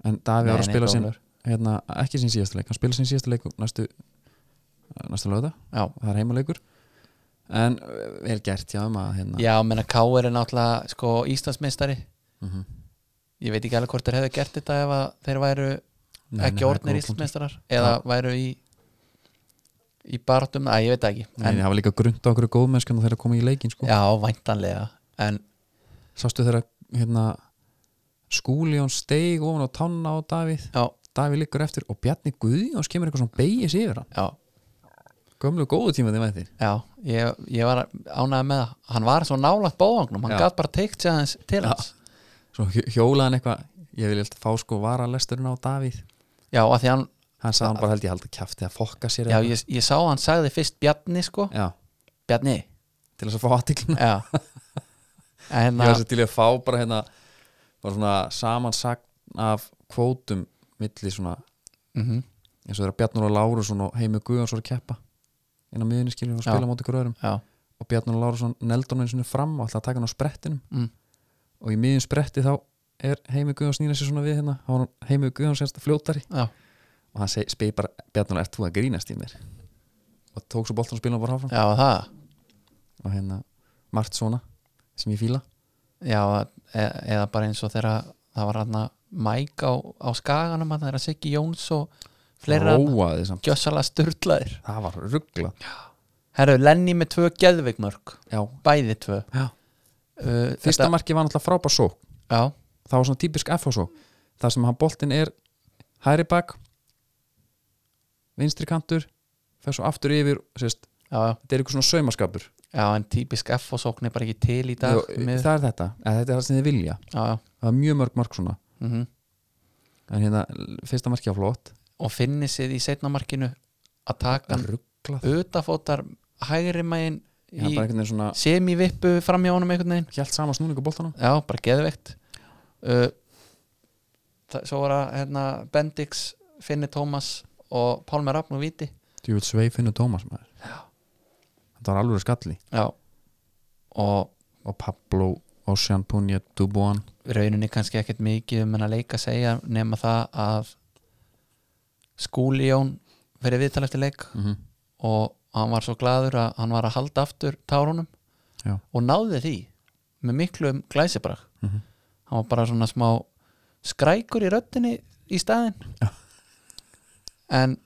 S1: en Davíð
S2: Nei,
S1: var að
S2: nei,
S1: spila sinn
S2: Þórður.
S1: hérna, ekki sinn síðasta leik, hann spila sinn síðasta leik næstu, eh, næstu lögða
S2: já
S1: það er heimaleikur en eh, vel gert hjá um að hérna,
S2: Já, menna K.R. er náttúrulega sko Íslandsmeistari
S1: Mhm.
S2: Ég veit ekki alveg hvort þeir hefðu gert þetta ef að þeir væru
S1: Nei, nei,
S2: ekki
S1: það er
S2: orðnir
S1: góður punktur.
S2: Íslandsmeistarar eða væru í í barðum, að ég veit það ekki
S1: Nei,
S2: en,
S1: það var líka grund á okkur góðmennskan og þeirra komið í leikin sko.
S2: Já, væntanlega en
S1: sástu þeirra hérna, skúli hann steig ofan á tanna á Davíð
S2: já,
S1: Davíð liggur eftir og Bjarni Guðjóns kemur eitthvað svona beigis yfir hann
S2: já,
S1: gömlu góðu tíma þeim eftir
S2: já ég, ég var ánægð með það hann var svo nálægt bóvangnum, hann
S1: Já.
S2: gat bara teikt sér hans til
S1: Já.
S2: hans
S1: svo hjó- hjólaði hann eitthvað ég vil eitthvað fá sko varalesturinn á Davíð
S2: Já, að því hann,
S1: hann sagði hann bara held ég held að kæfti að fokka sér
S2: já,
S1: eða-
S2: ég, ég sá að hann sagði fyrst Bjarni sko,
S1: já,
S2: Bjarni
S1: til þess að fá aðtiklina
S2: Já en, uh,
S1: ég var
S2: að,
S1: sér til í að fá bara hérna bara svona samansagn af kvótum milli svona
S2: mm
S1: eins og þeirra Bjarnur og Lárusson og Heimi Guðjóns voru að keppa inn á miðunni skilur og spila
S2: Já.
S1: móti ykkur öðrum
S2: já,
S1: og Bjarnur og Lárusson neldur hann einu sinni fram og ætlaði að taka hann á sprettinum
S2: mm,
S1: og í miðun spretti þá er Heimi Guðjóns nýna sér svona við hérna þá var hann- Heimi Guðjóns sérst fljótari
S2: já
S1: og hann seg- spyr bara Bjarnur ert þú að grínast í mér og tók svo boltan og spila hann bara áfram
S2: Já, það
S1: og hérna margt svona sem ég fíla
S2: Já, e eða bara eins og þegar það var hann Mike á, á skaganum hann þegar Siggi Jóns og fleira hann
S1: róaði samt
S2: gjössalega sturlaðir
S1: það var ruggla
S2: Herru, Lenny með tvö geðveikmörk
S1: já
S2: bæði tvö
S1: Já.
S2: uh,
S1: fyrsta marki var náttúrulega frábær sók
S2: Já,
S1: það var svona típisk FH sók þar sem hann boltinn er hæri bak vinstri kantur fer svo aftur yfir sérst,
S2: já, já,
S1: þetta er eitthvað svona saumaskapur
S2: já, en típisk F og sókn er bara ekki til í dag
S1: Jú,
S2: með,
S1: það er þetta, eða þetta er það sem þið vilja
S2: Já, já,
S1: það er mjög mörg mark svona
S2: mhm
S1: en hérna, fyrsta marki á flott
S2: og finni sig í setnamarkinu að taka hann
S1: rugglað
S2: utafótar hægri megin
S1: Já, bara
S2: í
S1: einhvern veginn svona
S2: semivippu framjá honum einhvern veginn
S1: hjælt saman snúningu boltanum
S2: Já, bara geðveikt uh, það, Svo var að hérna, Bendix, Finni Tómas og Pálmi Rafn og Viti
S1: Þú vil svei finna Tómas maður Þetta var alveg skalli
S2: Já Og
S1: og Pablo, Ocean, Punja, Dubuan
S2: rauninni kannski ekkert mikið um hennar leik að segja nema það að Skúli Jón fyrir viðtal eftir leik
S1: mm -hmm.
S2: og hann var svo glaður að hann var að halda aftur tárunum
S1: Já.
S2: og náði því með miklu um glæsibrag
S1: Mhm.
S2: hann var bara svona smá skrækur í röddinni í staðinn en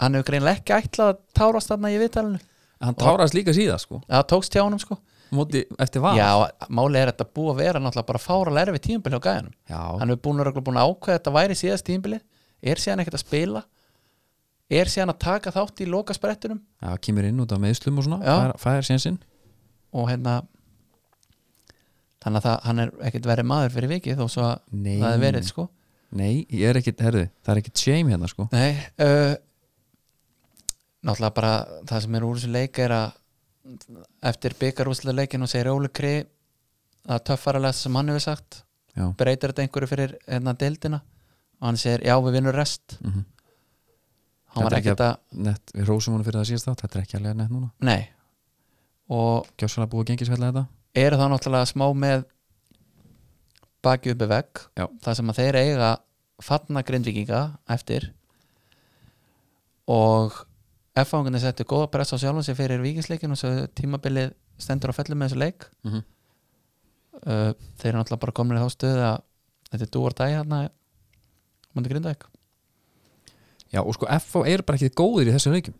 S2: hann hefur greinlega ekki ætlað að tárast þarna í viðtalinu
S1: Hann táraðist líka síða sko
S2: það tókst hjá honum sko
S1: Móti, eftir val
S2: já, málið er að þetta búið að vera náttúrulega bara fára erfið tímabili á gæðanum
S1: Já.
S2: hann hefur búin að regla búin að ákveða að þetta væri síðast tímabilið er síðan ekkert að spila er síðan að taka þátt í lokasprettunum
S1: Já, kemur inn út af meðslum og svona
S2: Já.
S1: fær, fær sénsinn
S2: og hérna þannig að það, hann er ekkert verið maður fyrir vikið þó svo að
S1: Nei.
S2: það er verið sko
S1: Nei, ég er ekkit, herðu, það er ekkit shame hérna sko
S2: Nei, uh, náttúrulega bara það sem er úr þessu leik er að eftir byggarúslega leikin og segir Óli Kri að töffaralega sem hann hefur sagt
S1: Já,
S2: breytir þetta einhverju fyrir hérna deildina og hann segir já við vinnum rest
S1: mm -hmm.
S2: hann
S1: Þetta
S2: var
S1: er ekki
S2: ekkert að,
S1: nett, við rósum honum fyrir það síðast þátt Þetta er ekki alveg nett núna
S2: nei og
S1: Gjössalega búið að gengisfella þetta
S2: eru það náttúrulega smá með baki uppi vegg
S1: Já.
S2: það sem að þeir eiga fatna grindvíkinga eftir og F-fangunni setti góða press á sjálfum sér fyrir vikingsleikin og svo tímabilið stendur á fellum með þessu leik
S1: mm -hmm.
S2: uh, þeir eru náttúrulega bara komin í þá stöð að þetta er dúar dæg hérna múndi grindaðik
S1: Já, og sko FO er bara ekki góðir í þessum leikjum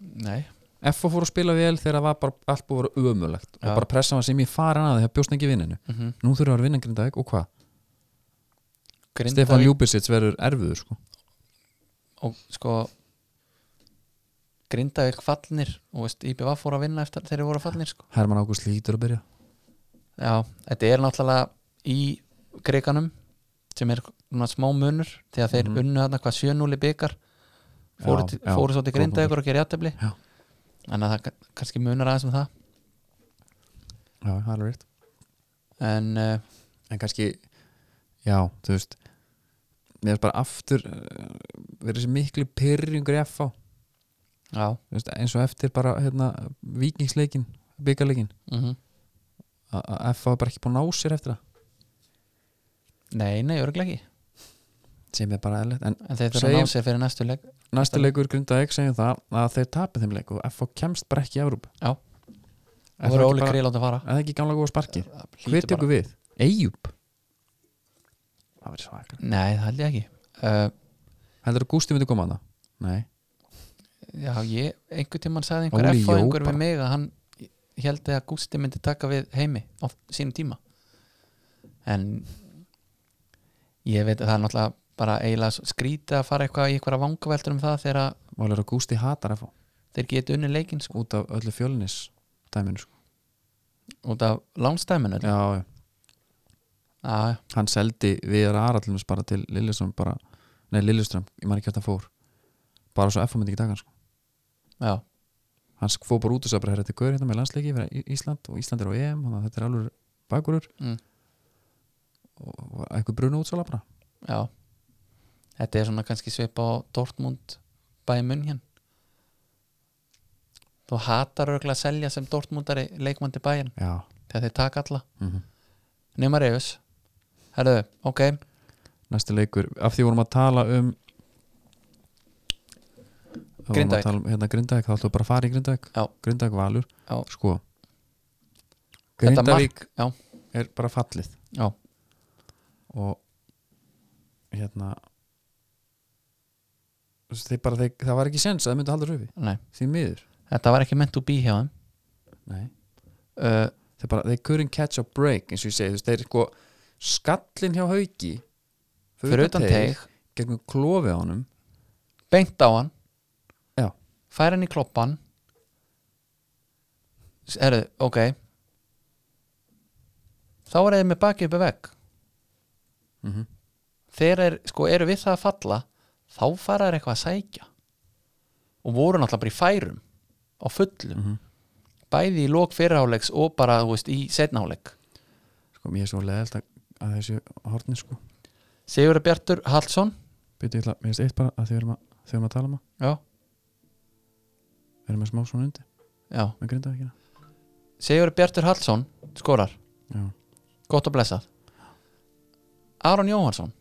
S2: Nei,
S1: FO fór að spila vel þegar það var bara allt búið að vera ömulegt
S2: Já.
S1: og bara pressa var sem ég farin að þegar bjóst ekki vinninu
S2: mm -hmm.
S1: Nú þurfum við að vinna Grindavík og hvað? Stefan Júbisits verður erfiður sko
S2: og sko Grindavík fallnir og veist, IBV fór að vinna eftir þegar þeir voru fallnir sko.
S1: Herman Ágúst lítur að byrja
S2: Já, þetta er náttúrulega í kriganum sem er svona smá munur þegar þeir
S1: Mhm.
S2: unnu þarna hvað 7-0 í byggar fóru,
S1: Já,
S2: til-
S1: já,
S2: fóru svo til
S1: góð
S2: Grindavíkur og gerði játefli
S1: Já.
S2: þannig að það kann- kannski munar aðeins um það
S1: Já, það er alveg rétt
S2: en uh,
S1: En kannski, já, þú veist Mér er bara aftur eh, verið þessi miklu pyrringur í FO
S2: já
S1: Þú veist, eins og eftir bara hérna, vikingsleikin, byggarleikin
S2: mm
S1: að FO er bara ekki búin að ná sér eftir það
S2: nei, nei, örglega ekki
S1: sem er bara eðlilegt en
S2: en þeir þurfa að
S1: Segjum-
S2: ná sér fyrir næstu leik
S1: næsti leikur Grindavík segjum það að þeir tapir þeim leik og FH kemst bara ekki í Evrópu
S2: Já.
S1: Er það
S2: og voru
S1: ekki
S2: Óli
S1: bara-
S2: Kríl átt að fara
S1: er það ekki gamla góða sparki
S2: Það hlýtur
S1: hver
S2: bara-
S1: tekur við? Eyjup það verður svakar
S2: nei, það held ég ekki uh,
S1: heldur að Gústi myndi koma að það? Nei
S2: Já, ég, einhver tímann sagði einhver
S1: Óli Jó
S2: F-fæðingur
S1: bara.
S2: við mig að hann held að Gústi myndi taka við heimi á sínum tíma en ég veit að það er náttúrulega bara eiginlega skrítið að fara eitthvað í einhverja vangaveltur um það þegar að
S1: mál er að Gústi hatar FH
S2: þeir geti unni leikinn sko,
S1: út af öllu fjölunis dæminu sko
S2: út af lánstæminu
S1: já, já.
S2: Já,
S1: hann seldi við aðrallumins bara til Lilleström bara nei Lilleström ég maður ekki hvert hann fór bara svo FH myndi ekki taka hann sko
S2: já,
S1: hann sk- fór bara út og sagði bara "Herra, þetta er gaur hérna með landsleiki fyrir Í- Ísland og Ísland er á EM þannig að þetta er alveg bakurur
S2: Mm.
S1: og og eitthvað bruna útsala bara
S2: já Þetta er svona kannski svipa á Dortmund bæði munn hér Þú hatar örgulega að selja sem Dortmundari leikmandi bæjan
S1: já
S2: þegar þeir taka alla
S1: mm
S2: nema reyfus herðu, ok,
S1: næsti leikur af því vorum að tala um þá vorum að
S2: Grindavík.
S1: tala um, hérna Grindavík þá ætlum við bara að fara í Grindavík
S2: Já.
S1: Grindavík Valur
S2: Já.
S1: sko
S2: Þetta
S1: Grindavík
S2: já.
S1: er bara fallið
S2: Já.
S1: og hérna þú veist, þeir bara, þeir, það var ekki sens að það myndi halda röfi
S2: nei,
S1: því miður
S2: þetta var ekki meant to be hjá þeim
S1: Nei. Eh,
S2: uh,
S1: þeir bara, they couldn't catch a break eins og ég segi, þú veist, þeir sko skallin hjá hauki
S2: fyrir utan teig,
S1: gegnum klofið á honum
S2: beint á hann
S1: Já.
S2: fær hann í kloppan S- herðu, ok þá er þeir með baki uppi vegg
S1: mm -hmm.
S2: þeir er, sko, eru við það að falla þá fara þeir eitthvað að sækja og voru náttúrulega bara í færum á fullum,
S1: Mhm.
S2: bæði í lók fyrirháleiks og bara, þú veist, í setnáleik
S1: sko, mér er svo leðelt að, að þessu horni sko,
S2: Sigur Bjartur Hallsson
S1: byrju, ég ætla, mér finnst eitt bara að þau erum að, þau erum að tala um að
S2: Já,
S1: við erum að smá svona undir
S2: já.
S1: með grindavíkina
S2: Sigur Bjartur Hallsson skorar,
S1: já,
S2: gott og blessað Aron Jóhansson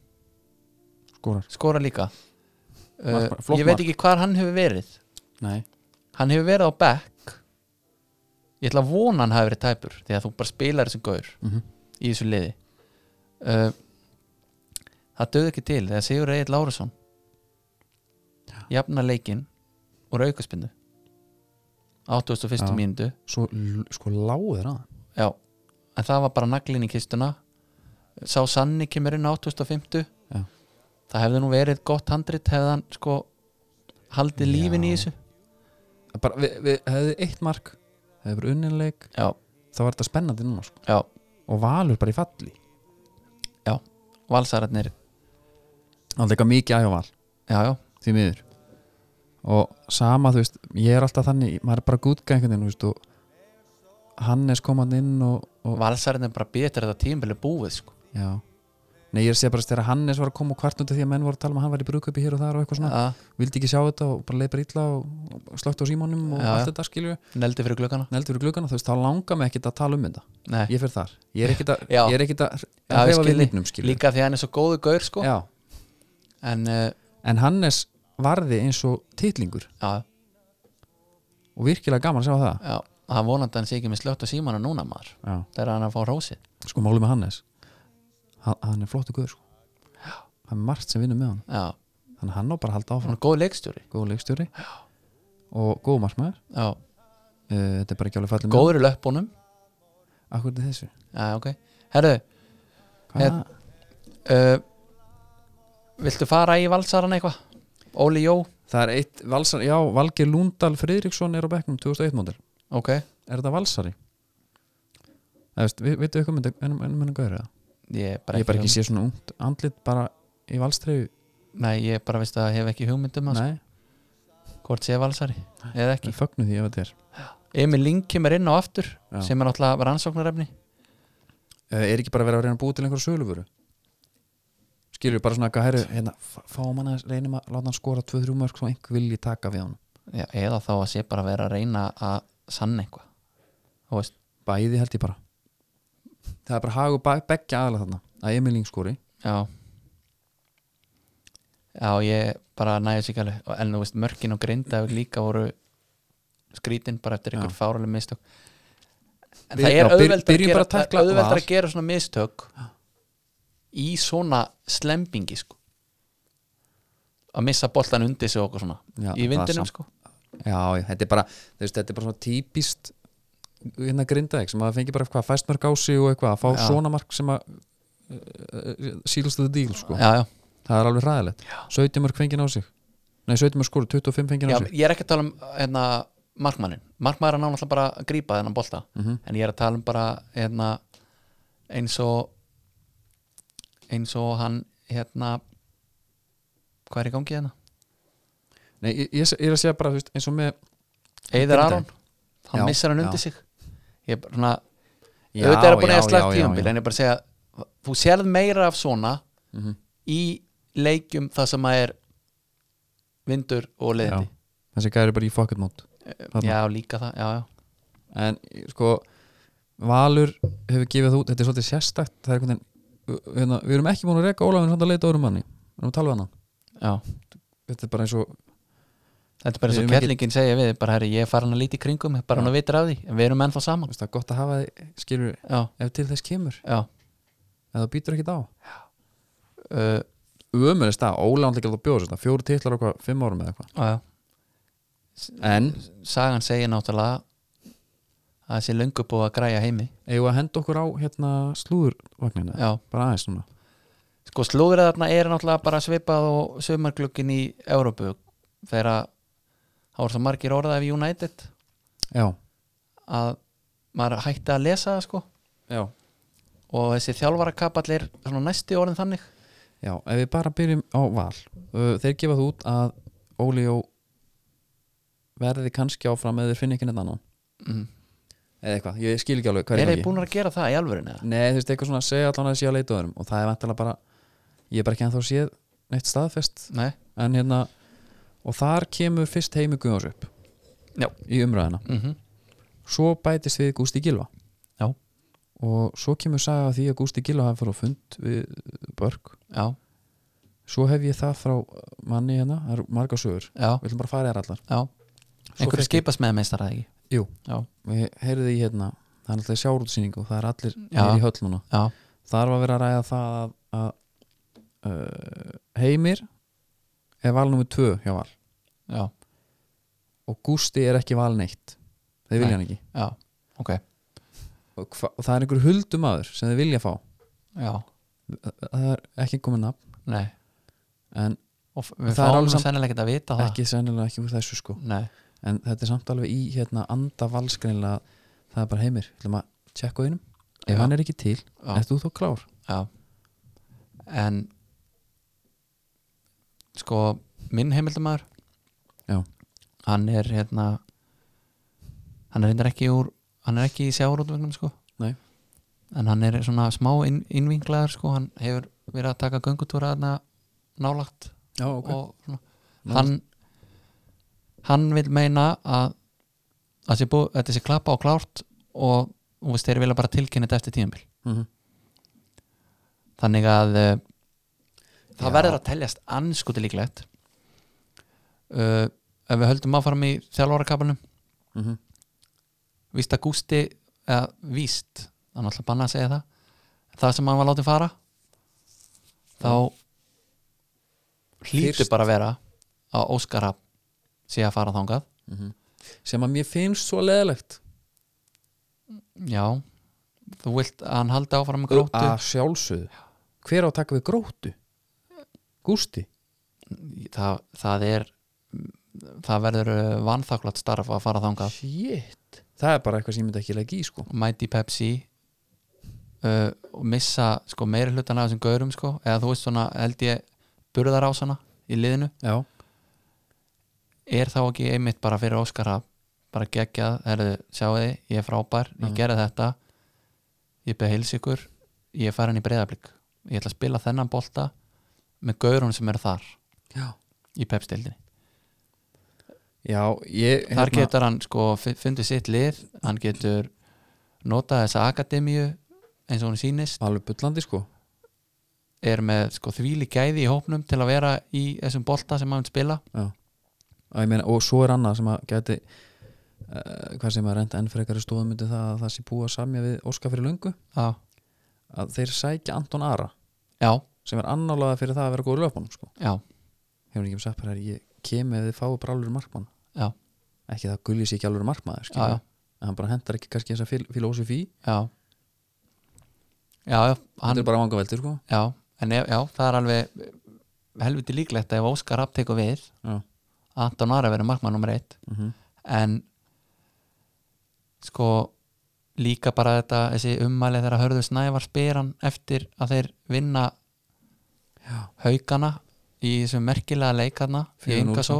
S1: skórar
S2: skorar líka uh,
S1: Mark- flott
S2: Ég veit
S1: mark.
S2: ekki hvar hann hefur verið
S1: Nei.
S2: Hann hefur verið á back Ég ætla að vona hann hafi verið tæpur því að þú bara spilar þessum gaur
S1: Mm
S2: í þessu liði uh, Það döði ekki til þegar Sigur Egil Lárusson jafna leikinn úr aukaspindu 81.
S1: Já.
S2: mínútu
S1: svo l- sko láður að
S2: Já, en það var bara naglin í kistuna Sá Sanni kemur inn á 2050
S1: Já.
S2: Það hefði nú verið gott handrit hefði hann sko haldið
S1: Já.
S2: lífin í þessu
S1: Eh, bara, við, við hefði eitt mark hefði bara unninleik,
S2: Já,
S1: þá var þetta spennandi núna sko.
S2: já,
S1: og Valur bara í falli
S2: valsararnir
S1: alltaf eitthvað mikið aðjá Val
S2: Já, já,
S1: því miður og sama, þú veist, ég er alltaf þannig maður er bara gútgæð einhvern veginn, þú veist og Hannes kom hann inn og, og
S2: valsararnir bara betur þetta tímbili búið sko
S1: já, Nei, ég er að segja bara þegar Hannes var að koma og kvartundu því að menn voru að tala um að hann var í brúköpi hér og þar og eitthvað svona,
S2: að
S1: vildi ekki sjá þetta og bara leið bara illa og, og slögt á símónum og
S2: Já,
S1: allt
S2: já.
S1: þetta skilju
S2: neldi fyrir gluggana
S1: neldur í gluggana, þú veist, þá langar mig ekkit að tala um þetta
S2: Nei.
S1: ég fyrir þar, ég er ekkit að,
S2: Já.
S1: ég er ekkit að
S2: Já,
S1: að hrefa
S2: ég
S1: við
S2: skil þig.
S1: lífnum skilju
S2: líka því að hann er svo góðu gaur sko
S1: Já.
S2: en uh,
S1: en Hannes varði eins og titlingur
S2: já,
S1: og virkilega gaman að sjá það
S2: já, hann vonandi að hann sé ekki með slögt á símanu núna maður
S1: Já.
S2: þegar hann er að fá rósið
S1: sko máli með Hannes hann, hann er flottu guður sko. hann er margt sem vinnur með hann
S2: já,
S1: þannig að hann á bara að halda áfram
S2: hann er góð leikstjóri
S1: góð leikstjóri og góð markmaður uh,
S2: já,
S1: þetta er bara ekki alveg fallið með
S2: góður í löppunum
S1: akkur er þessu
S2: já, ok, herru
S1: Hvað er
S2: Hérna.
S1: það?
S2: uh, viltu fara í valsaran eitthvað? Óli Jó,
S1: það er eitt valsar, já, Valgeir Lúndal Friðriksson er á bekknum 2001 mótil
S2: ok
S1: er þetta valsari? Það veist, við veitum ykkur myndi ennum ennum ennum gauður eða?
S2: ég
S1: Ég bara ekki sé svona ungt andlit bara í valstreyju
S2: nei, ég bara veist að hef ekki hugmyndum að
S1: Nei,
S2: sko, hvort sé valsari, eða ekki
S1: við fögnum því ef þetta er
S2: Emil Ling kemur inn á aftur
S1: Já.
S2: sem er náttúrulega rannsóknarefni
S1: Eh, Er ekki bara verið að reyna að búa til einhverja sölufuru? Skilur við bara svona eitthvað herru hérna, f- fáum hann að reynum að láta hann skora 2-3 mörg svo einhver vilji taka við hann
S2: Já, eða þá að sé bara að vera að reyna að sanna eitthvað þú veist,
S1: Bæði held ég bara Það er bara hagu begja aðalega þarna að Emil Ling skori
S2: já já, ég bara næði sér ekki alveg en þú veist, mörkin og grindaður líka voru skrítin bara eftir einhver
S1: Já.
S2: fáruleg mistök en
S1: Byr-
S2: það
S1: já,
S2: er
S1: byr-
S2: auðveldar að,
S1: byrjum
S2: gera-
S1: bara að
S2: það
S1: tækla
S2: er auðveldara
S1: Val.
S2: að gera svona mistök í svona slembingi sko að missa boltan undir sig og okkur svona
S1: Já, það
S2: í
S1: er
S2: vindinum
S1: samt-
S2: sko
S1: Já, já, þetta er bara, þú veist, þetta er bara svona típist hérna grindaðeg sem að fengi bara hvað fæst mörg á sig og eitthvað að fá
S2: Já.
S1: svona mark sem að eh, sílustuðu díl sko,
S2: já, já.
S1: það er alveg ræðilegt 17 mörg fengið á sig, nei 17 mörg skóru 25 fengið
S2: Já,
S1: á sig
S2: ég er ekki að tala um hérna, markmannin markmaður er náttúrulega bara að grípa þennan bolta
S1: Mhm.
S2: en ég er að tala um bara hérna, eins og eins og hann hérna hvað er í gangi hérna?
S1: Nei, ég, ég, ég er að segja bara, þú veist, eins og með
S2: Eður Aron, hann
S1: Já,
S2: missar hann
S1: já.
S2: undir sig ég er bara svona auðvitað er að búin að eiga slagt tíðanbíl en ég bara segja, þú sérð meira af svona
S1: Mhm.
S2: í leikjum það sem að er vindur og
S1: Já.
S2: leiðindi
S1: Þessi gæri bara í fucking mót
S2: já,
S1: Þarna.
S2: líka það, já, já,
S1: En sko, Valur hefur gefið það út, þetta er svolítið sérstakt Það er einhvern veginn, hérna, við erum ekki búin að reka Ólafinn samt að leita öðrum manni, við erum að tala við hann
S2: já.
S1: Þetta er bara eins og
S2: Þetta er bara
S1: Við
S2: eins og
S1: erum ekki-
S2: kellingin segja við bara herri, ég er farin að líti í kringum, mig, bara hann að vitra af því en við erum ennþá saman
S1: Þú veist, það er gott að hafa þig, skilur
S2: Já,
S1: ef til þess kemur,
S2: já
S1: ef það býtur ekkit á
S2: uh,
S1: Ömur er stað, Ólafinn ekki að bjóða sér þetta, fjóru titlar okkur, fimm árum eða eitthvað
S2: á, já.
S1: En,
S2: Sagan segir náttúrulega að þessi löngu búið að græja heimi
S1: eigum við að henda okkur á hérna slúðurvagninu,
S2: Já,
S1: bara aðeins núna
S2: sko slúðrið þarna er náttúrulega bara svipað og sömarglöggin í Európu þegar að það voru svo margir orðað af United
S1: Já,
S2: að maður hætti að lesa það sko
S1: já
S2: og þessi þjálfarakapall er svona næsti orðin þannig
S1: Já, ef við bara byrjum á val uh, Þeir gefa þú út að Óli Jó verði kannski áfram eða þeir finna ekki neitt annan
S2: mm.
S1: eða eitthvað, ég skil ekki alveg hvað
S2: Er
S1: er
S2: þeir búin að gera það í alvörinu? eða?
S1: Nei, þú veist, eitthvað svona að segja allan að þessi að leita öðrum og það er vantilega bara, ég er bara ekki ennþá séð neitt staðfest,
S2: Nei,
S1: en hérna og þar kemur fyrst heimi Guðjóns upp
S2: Já.
S1: í umræðina
S2: mm
S1: svo bætist við Gústi Gilva
S2: Já.
S1: og svo kemur saga af því að Gústi Gilva hafa fyrir á fund við uh, Börg
S2: já,
S1: svo hef ég það frá uh, manni hérna, það eru margar sögur
S2: já
S1: við ætlum bara að fara þér allar
S2: Já, einhverju skipast með meistar eða ekki
S1: Jú.
S2: Já,
S1: við heyrði í hérna, það er alltaf sjárútsýningu og það er allir
S2: Já.
S1: hér í höll núna
S2: já,
S1: þar var verið að ræða það að, að uh, Heimir er val nummer 2 hjá val
S2: já,
S1: og Gústi er ekki val neitt þeir vilja
S2: Nei.
S1: hann ekki
S2: já, ok
S1: og, hva, og það er einhver huldumadur sem þeir vilja fá
S2: Já,
S1: það er ekki komið nafn
S2: nei
S1: en
S2: Og f- við
S1: Það er
S2: fáum
S1: alveg
S2: nú
S1: samt-
S2: sennilega ekki að vita það
S1: ekki sennilega ekki úr þessu sko
S2: Nei,
S1: en þetta er samt alveg í hérna anda valskreinlega það er bara Heimir, við ætlum að tjekka á einum ef
S2: Já.
S1: hann er ekki til,
S2: Já.
S1: ert þú þó klár
S2: já En Sko, minn heimildumæður
S1: Já.
S2: Hann er hérna Hann er reyndar ekki úr Hann er ekki í sjáurútvegnum sko
S1: Nei.
S2: En hann er svona smá inn, innvinglaður sko Hann hefur verið að taka göngutúra þarna nálagt
S1: já, ok
S2: og svona, hann hann vil meina að, að sé búið, þetta sé klappa og klárt og þú veist, þeir vilja bara tilkynna þetta eftir tíðanbíl
S1: Mhm.
S2: þannig að uh, það
S1: Já.
S2: verður að teljast anskuti líklegt uh, ef við höldum áfram í þjálfarakapanum
S1: Mhm.
S2: víst að Gústi eða víst, hann alltaf banna að segja það það sem hann var látið fara þá hlýtur
S1: Fyrst-
S2: bara að vera að Óskara sé að fara þangað
S1: Mhm. sem að mér finnst svo leðilegt
S2: já, þú vilt að hann haldi áfram með gróttu
S1: að sjálfsögðu hver á að taka við gróttu? Gústi?
S2: það, það er það verður uh, vanþakklátt starf að fara þangað
S1: Shit það er bara eitthvað sem ég myndi ekki leggja í sko
S2: mæti í Pepsi uh, og missa sko meiri hlutana af þessum gaurum sko eða þú veist svona held ég burðarásana í liðinu
S1: já,
S2: er þá ekki einmitt bara fyrir Óskar að bara gegjað, herðu, sjáu þið ég er frábær, ég
S1: Mhm.
S2: gerði þetta ég beð heils ykkur ég er farin í breyðablík ég ætla að spila þennan bolta með gaurunum sem eru þar
S1: já.
S2: í pepstildinni
S1: já ég, hérna,
S2: þar getur hann sko fi- fundið sitt lið hann getur notað þessa akademíu eins og hún sýnist
S1: alveg bullandi sko
S2: er með sko þvíli gæði í hópnum til að vera í þessum bolta sem hann vill spila
S1: Að ég meina, og svo er annað sem að geti uh, hvað sem að renda enn frekari stóðum myndi það að það sé búið að samja við Óskar fyrir löngu
S2: já,
S1: að þeir sækja Anton Ara
S2: já,
S1: sem er annálaða fyrir það að vera góður löpunum sko.
S2: já,
S1: hefur hann ekki sagt bara ég kem eða þið fáið bara alveg markmann
S2: Já.
S1: ekki það gulli sér ekki alveg markmaður skilur
S2: já, já.
S1: við. en hann bara hendar ekki kannski þessa filósofi
S2: já já, já,
S1: hann
S2: hann
S1: er bara vangaveldur sko.
S2: já, en ef, já, það er alveg helviti líklegt að ef Óskar Rapp tekur við
S1: Já.
S2: Anton Ara verður markmann nummer eitt
S1: mm
S2: en sko líka bara þetta þessi ummæli þegar hörðu snævar spyr hann eftir að þeir vinna
S1: Já.
S2: haugana í þessum merkilega leikarna í
S1: 4-0
S2: Ingasó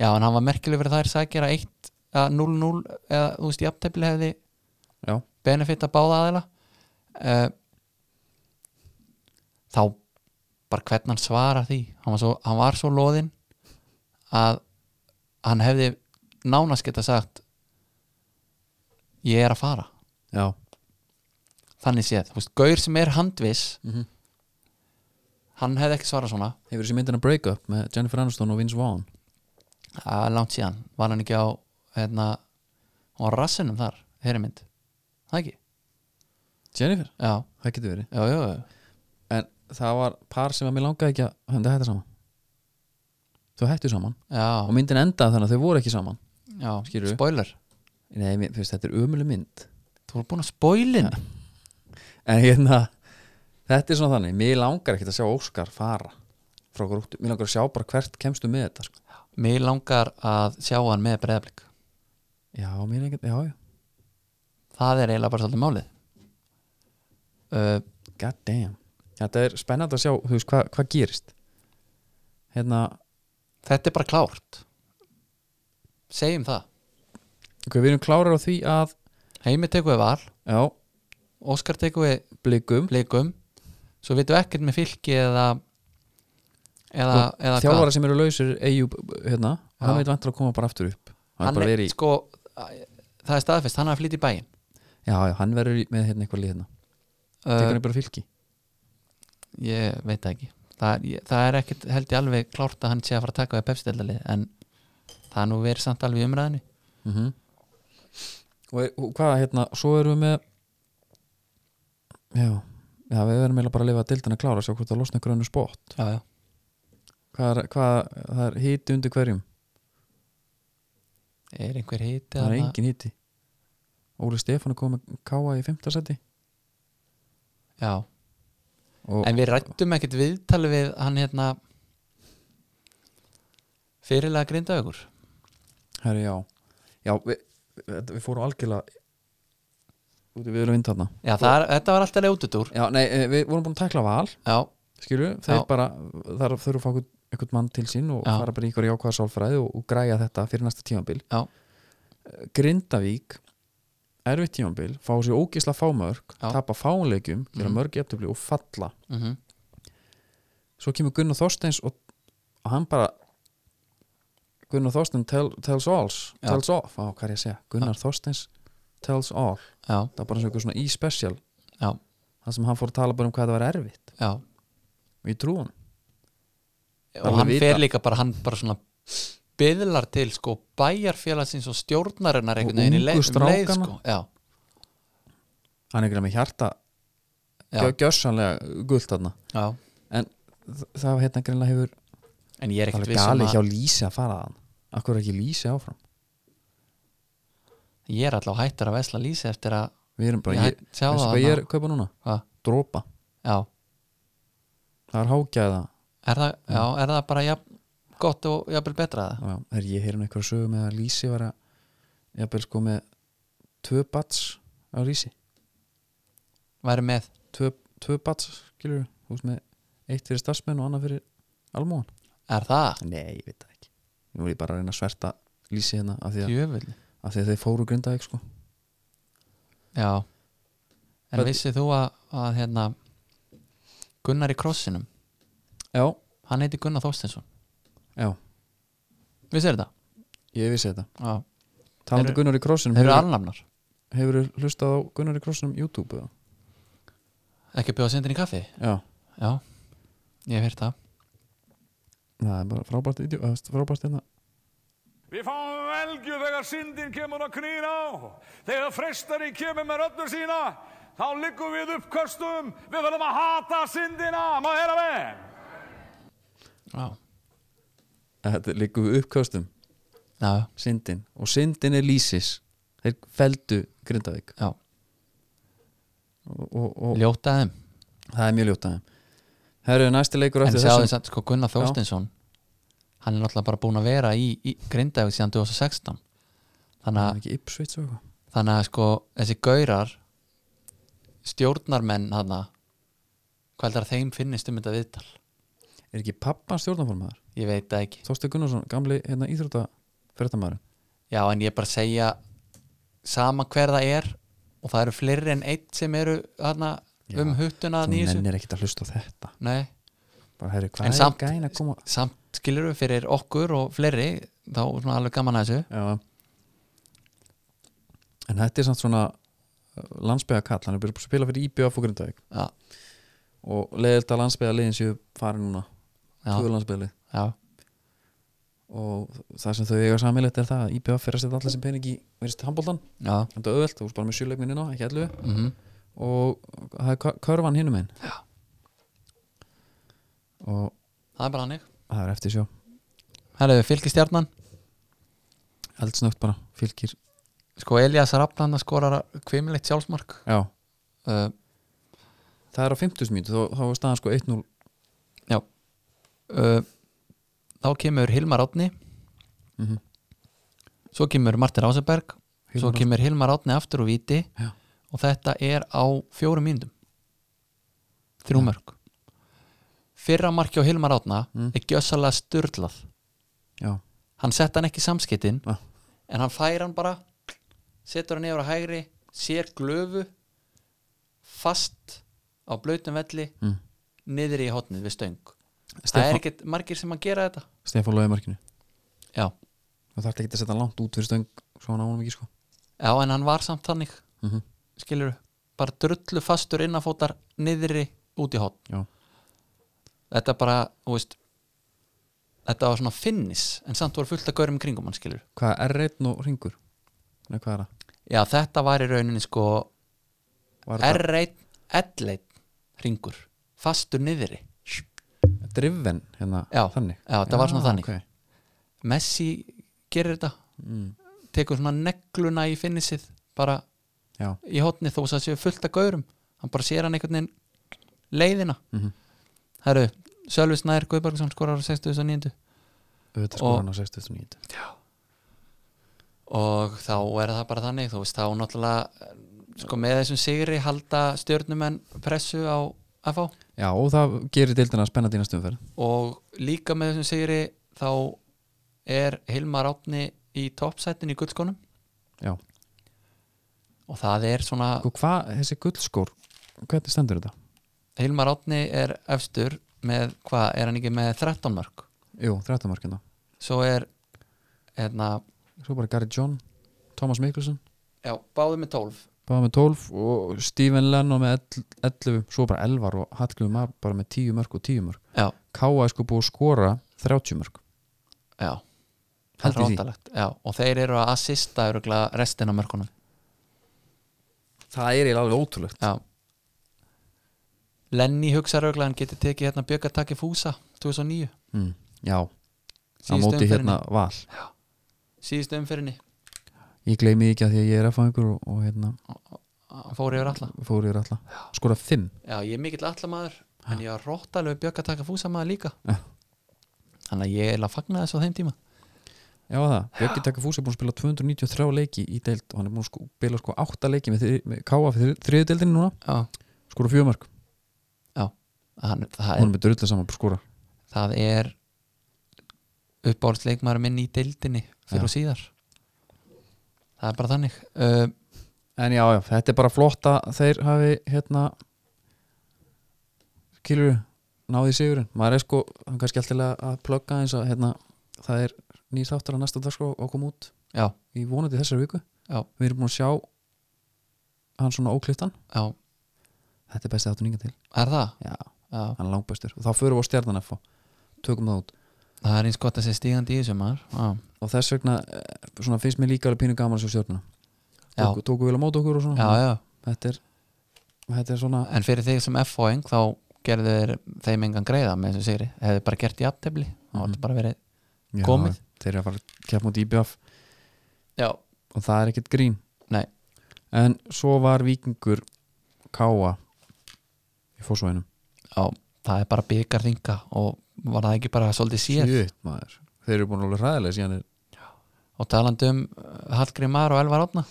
S2: já en hann var merkileg fyrir þær sækir að 1 að 0-0 eða þú veist jafntefli hefði
S1: Já.
S2: benefit að báða aðeila uh, þá bara hvernig hann svarar því hann var svo, hann var svo loðinn að hann hefði nánast geta sagt ég er að fara
S1: já,
S2: þannig séð, þú veist, Gaur sem er handviss
S1: Mhm.
S2: hann hefði ekki svarað svona
S1: hefur þessi myndin að break up með Jennifer Aniston og Vince Vaughn
S2: að langt síðan, var hann ekki á hérna, hún var á rassinum þar þeirri mynd, það ekki
S1: Jennifer,
S2: já,
S1: það getur verið
S2: já, já, já.
S1: en það var par sem að mér langaði ekki að hönda hætta saman þau hættu saman og
S2: já,
S1: myndin endaði þannig að þau voru ekki saman
S2: já.
S1: Skilurðu?
S2: spoiler,
S1: nei, mér finnst þetta er ömuleg mynd
S2: þú voru búin að spoilin
S1: en hérna, þetta er svona þannig mér langar ekki að sjá Óskar fara frá grúttu, mér langar að sjá bara hvert kemstu með þetta sko.
S2: mér langar að sjá hann með breyðablik
S1: já, mér langar, já, já,
S2: það er eiginlega bara svolítið málið uh,
S1: god damn þetta er spennandi að sjá, þú veist, hvað hva gerist hérna
S2: þetta er bara klárt segjum það
S1: ok, við erum klárar á því að
S2: Heimi tekur við val,
S1: já,
S2: Óskar tekur við
S1: blikum
S2: blikum, svo vitum við ekkert með fylki eða eða, eða
S1: þjálfara sem eru lausir Eyjúb, hérna,
S2: Já.
S1: hann veit vantur að koma bara aftur upp hann,
S2: hann
S1: hann bara
S2: er,
S1: verið í,
S2: sko, það er staðfest hann er að flytja í bæinn
S1: já, já, hann verður í- með hérna eitthvað lið hérna, tekur
S2: uh,
S1: hann bara fylki
S2: ég veit það ekki það, er- ég, það er ekkert held ég alveg klárt að hann sé að fara að taka við pepsideldalið en það er nú verið samt alveg í umræðinu
S1: mm
S2: mhm.
S1: og, er- og hvað, hérna, svo erum við með já, já við verðum eiginlega bara að lifa að dildina klára sjá hvort það losna ykkur önnu spott
S2: já, já.
S1: hvað, er- hvað, það er híti undir hverjum
S2: er einhver hiti
S1: það er
S2: þarna?
S1: engin híti Óli Stefán er komið káa í fimmtasæti
S2: já.
S1: og
S2: en við rættum ekkert viðtali við hann hérna fyrirlega grindaðugur
S1: herri, já, já við, við, við fórum algjörlega út í viður og vind þarna
S2: já, það er, þetta var alltaf ljótutúr
S1: já, nei, eh, við vorum búin að tækla val
S2: já,
S1: skilju, þeir
S2: Já.
S1: bara þar þurfum að fá einhvern- einhvern mann til sín og
S2: Já.
S1: fara bara í ykkur jákvæða sálfræði og, og græja þetta fyrir næsta tímabil Eh,
S2: Já.
S1: Grindavík erfitt tímabil, fá sér ógisla fámörk
S2: Já.
S1: tapa fáleikjum, gera
S2: Mhm.
S1: mörg eftirblí og falla
S2: mhm
S1: svo kemur Gunnar Þorsteins og, og hann bara Gunnar Þorsteins tell, tells alls
S2: Já.
S1: tells all, á, hvað er ég að segja Gunnar Þorsteins tells all
S2: já,
S1: það er bara eins og einhver svona e-special
S2: já,
S1: það sem hann fór að tala bara um hvað það var erfitt
S2: já
S1: og ég trú hann
S2: og
S1: Alveg
S2: hann
S1: vita.
S2: fer líka bara, hann bara svona byðlar til sko bæjarfélagsins og stjórnarinnar
S1: Og
S2: einhvern veginn í
S1: ungu
S2: leið, um leið
S1: strákana.
S2: sko. já,
S1: hann er ekki með hjarta
S2: já,
S1: gjör, gjörsanlega gult þarna
S2: já
S1: Þ- það var hérna greinlega hefur
S2: en ég er
S1: það
S2: ekkert
S1: er
S2: viss um
S1: gali
S2: að
S1: hjá Lísi að fara að hann akkur ekki Lísi áfram
S2: ég er allavega hættur að vesla lýsi eftir að
S1: við erum bara,
S2: Já,
S1: ég,
S2: sjá
S1: veistu
S2: það
S1: hvað ég er
S2: þarna.
S1: að kaupa núna?
S2: Hvað?
S1: dropa,
S2: já,
S1: það er hágæða
S2: er það, já, er það bara jafn, gott og jafnvel betra það
S1: Já, er ég heyrði einhverja sögu með að Lísi var að jafnvel sko með tvö bats á Lísi
S2: væri með,
S1: tvö, tvö bats, skilur þú veist með eitt fyrir starfsmenn og annað fyrir almóan
S2: er það
S1: Nei, ég veit það ekki Nú er ég bara að reyna að sverta Lísi hérna af því að,
S2: djöfull,
S1: af því að þeir fóru grindaði sko
S2: já en
S1: Hvað-
S2: vissið þú að, að hérna Gunnar í krossinum
S1: Já,
S2: hann heiti Gunnar Þorstinsson
S1: já,
S2: vissið þetta?
S1: ég vissi þetta
S2: já,
S1: Talandi
S2: Eru-
S1: Gunnar í krossinum
S2: þeir eru
S1: hefur,
S2: alnafnar
S1: hefur hlustað á Gunnar í krossinum YouTube eða?
S2: ekki bjóða sendin í kaffi
S1: Já,
S2: Já, ég hef heyrt það
S1: það er bara frábært vídeó, eða, frábært hérna
S3: Við fáum velgju þegar syndin kemur að knýna á. Þegar frestari kemur með röddur sína, þá liggum við uppköstum. Við verðum að hata syndina, má heyra með.
S2: Já,
S1: Þetta liggur við uppkastum,
S2: já,
S1: syndin og syndin er Lísis Þeir feldu grindavík
S2: já.
S1: og, og, og
S2: ljóta þeim
S1: það er mjög ljótt aðeim Herru, næsti leikur
S2: En
S1: eftir
S2: sjáðu
S1: þessum
S2: þess að sko Gunnar Þorstinsson hann er náttúrulega bara búin að vera í, í Grindavík síðan 2016
S1: Það
S2: þannig að,
S1: er ekki Ipswich og eitthvað
S2: þannig að sko þessi gaurar stjórnarmenn hann hvað heldur að þeim finnist um þetta viðtal
S1: Er ekki pappan stjórnarformaður?
S2: ég veit það ekki,
S1: Þorstein Gunnarsson, gamli hérna, íþrótta fyrirtamæður
S2: já en ég er bara að segja sama hver það er og það eru fleiri en eitt sem eru hana,
S1: Já,
S2: um huttuna
S1: Þú
S2: nýjus
S1: nennir ekkit að hlusta á þetta
S2: nei
S1: Bara herru,
S2: En
S1: hvað er
S2: samt-
S1: gæn að koma?
S2: samt skilur við fyrir okkur og fleiri þá er svona alveg gaman að þessu
S1: Já En þetta er samt svona landsbyða kall, hann er byrjað að spila fyrir IBF og Grindavík
S2: já,
S1: og leiðilt að landsbyða liðin séu farin núna tvö
S2: já,
S1: landsbyðalið
S2: já,
S1: og það sem þau eiga samilegt er það að IBF fyrir að setja allir sem pening í verist handbóltan,
S2: já
S1: þetta er auðvelt, þú veist bara með sjöleikminn inná, ekki allu
S2: mm
S1: og það er kör- körfan hinum einn og
S2: það er bara hannig
S1: það er eftir sjá
S2: Herðu, fylgistjarnan,
S1: eldsnögt bara, fylgir
S2: sko Elias Rafnanna skorar kvimleitt sjálfsmark
S1: já,
S2: uh,
S1: það er á 50 mínútu þá, þá er staðan sko 1-0
S2: uh, þá kemur Hilmar Átni
S1: Mhm.
S2: svo kemur Martin Ráseberg svo
S1: Hilmar
S2: kemur Hilmar Átni aftur og viti
S1: Já.
S2: og þetta er á fjórum mínútum þrjú mörg fyrra marki á Hilmar Átna
S1: Mm.
S2: er gjössalega styrlað
S1: já,
S2: hann sett hann ekki í samskiptin
S1: Ah.
S2: en hann fær hann bara setur hann yfir á hægri sér glöfu fast á blautum velli
S1: Mm.
S2: niður í hotnið við stöng það
S1: Stefán,
S2: er ekkert margir sem að gera þetta
S1: Stefán Lói markinu
S2: já,
S1: það þarf ekki að setja hann langt út fyrir stöng svona ánum ekki sko
S2: já en hann var samt þannig
S1: mm -hmm.
S2: skilur bara drullu fastur innanfótar niðri út í hotn
S1: já,
S2: þetta bara, þú veist þetta var svona finnis en samt voru fullt að gaurum í kringum hann skilur
S1: hvað er R1 og ringur? Nei, hvað er það?
S2: já þetta var í rauninni sko
S1: Var það
S2: R1, L1 ringur, fastur niðri
S1: driven hérna,
S2: Já.
S1: þannig?
S2: Já, þetta var svona þannig.
S1: ok.
S2: Messi gerir þetta
S1: Mm.
S2: tekur svona negluna í finnisið bara
S1: Já,
S2: í hotni þó þess að séu fullt að gaurum hann bara sér hann einhvern veginn leiðina mm
S1: Mhm.
S2: herru, Sölvi Snær Guðbergsson skorar á 69
S1: auðvitað
S2: Og-
S1: skor hann á 69
S2: og þá er það bara þannig þú veist þá náttúrulega sko með þessum sigri halda stjörnumenn pressu á FH
S1: Já, og það gerir deildina spennandi í næstum fyrir
S2: og líka með þessum sigri þá er Hilmar Átni í toppsættin í gullskonum
S1: Já,
S2: og það er svona
S1: Sko, og hvað, þessi gullskór hvernig stendur þetta?
S2: Hilmar Átni er efstur með, hvað, er hann ekki með 13 mörg
S1: Jú, 13 markina
S2: svo er hérna,
S1: Svo bara Gary John, Thomas Mikkelsen
S2: já, báði með 12
S1: Báða með 12 og Steven Lennon með 11 Svo bara Elvar og Hallgrim Mar bara með 10 mörg og 10 mörg
S2: já,
S1: Káa er sko búið að skora 30 mörg
S2: já, það er
S1: Haldið því.
S2: rótalegt já, og þeir eru að assista örugglega restina af mörkunum
S1: Það er eiginlega alveg ótrúlegt
S2: Já Lenny hugsa rauglega hann geti tekið hérna Bjöggartakki Fúsa 2009
S1: mm, Já, á
S2: síðustu
S1: móti
S2: umferðinni.
S1: hérna val
S2: síðustu umfyrinni
S1: Ég gleymi því ekki að því að ég er að fá einhver og, og hérna
S2: hann fór yfir alla
S1: fór ég alltaf Skora 5
S2: Já, ég er mikill allamaður en ég var róttalegu Bjöggartakki Fúsa maður líka
S1: Já.
S2: Þannig að ég er að fagna þessu á þeim tíma
S1: Já það, Björki Takka Fús er búin að spila 293 leiki í deild og hann er búin að sko, spila sko 8 leiki með, þri- með KF þri- þriðju deildinni núna
S2: Já,
S1: skora 4 mörg,
S2: hann, það,
S1: hún er
S2: er,
S1: með drullu saman skora
S2: það er uppáhaldsleikmaður minn í deildinni fyrir
S1: Já.
S2: og síðar Það er bara þannig uh,
S1: En já, já, þetta er bara flott að þeir hafi hérna kilur náði sigurinn, maður er sko hann er kannski alltaf að plugga eins að hérna, það er nýr þáttur að næsta dag sko að koma út
S2: Já,
S1: í vonandi þessari viku
S2: Já.
S1: við erum búin að sjá hann svona ókliftan,
S2: já,
S1: þetta er bestið áttu nýga til
S2: er það?
S1: já,
S2: Já,
S1: hann er langbestur og þá förum við á stjarnan F og tökum það út
S2: það er eins gott að sé stígandi í þessu maður Já,
S1: og þess vegna eh, svona, finnst mér líka alveg pínu gaman að sjá stjórnuna
S2: Já.
S1: tóku, tóku vel á móti okkur og svona
S2: já, já
S1: Þetta, er, þetta er svona
S2: En fyrir þig sem F-fóing þá gerðu þeir þeim engan greiða með þessu sigri hefðu bara gert í aftefli þá
S1: Mhm.
S2: var þetta bara verið
S1: Já,
S2: komið.
S1: þeir eru að fara að keppa múti IBF
S2: já,
S1: og það er ekkert grín
S2: Nei.
S1: en svo var vikingur Káa í fósvæðinum
S2: já, það er bara byggar þinga og var það ekki bara svolítið sér
S1: Shit, maður. þeir eru búin að alveg hræðilega síðan er,
S2: og talandi um uh, Hallgrim Mar og Elvar Átna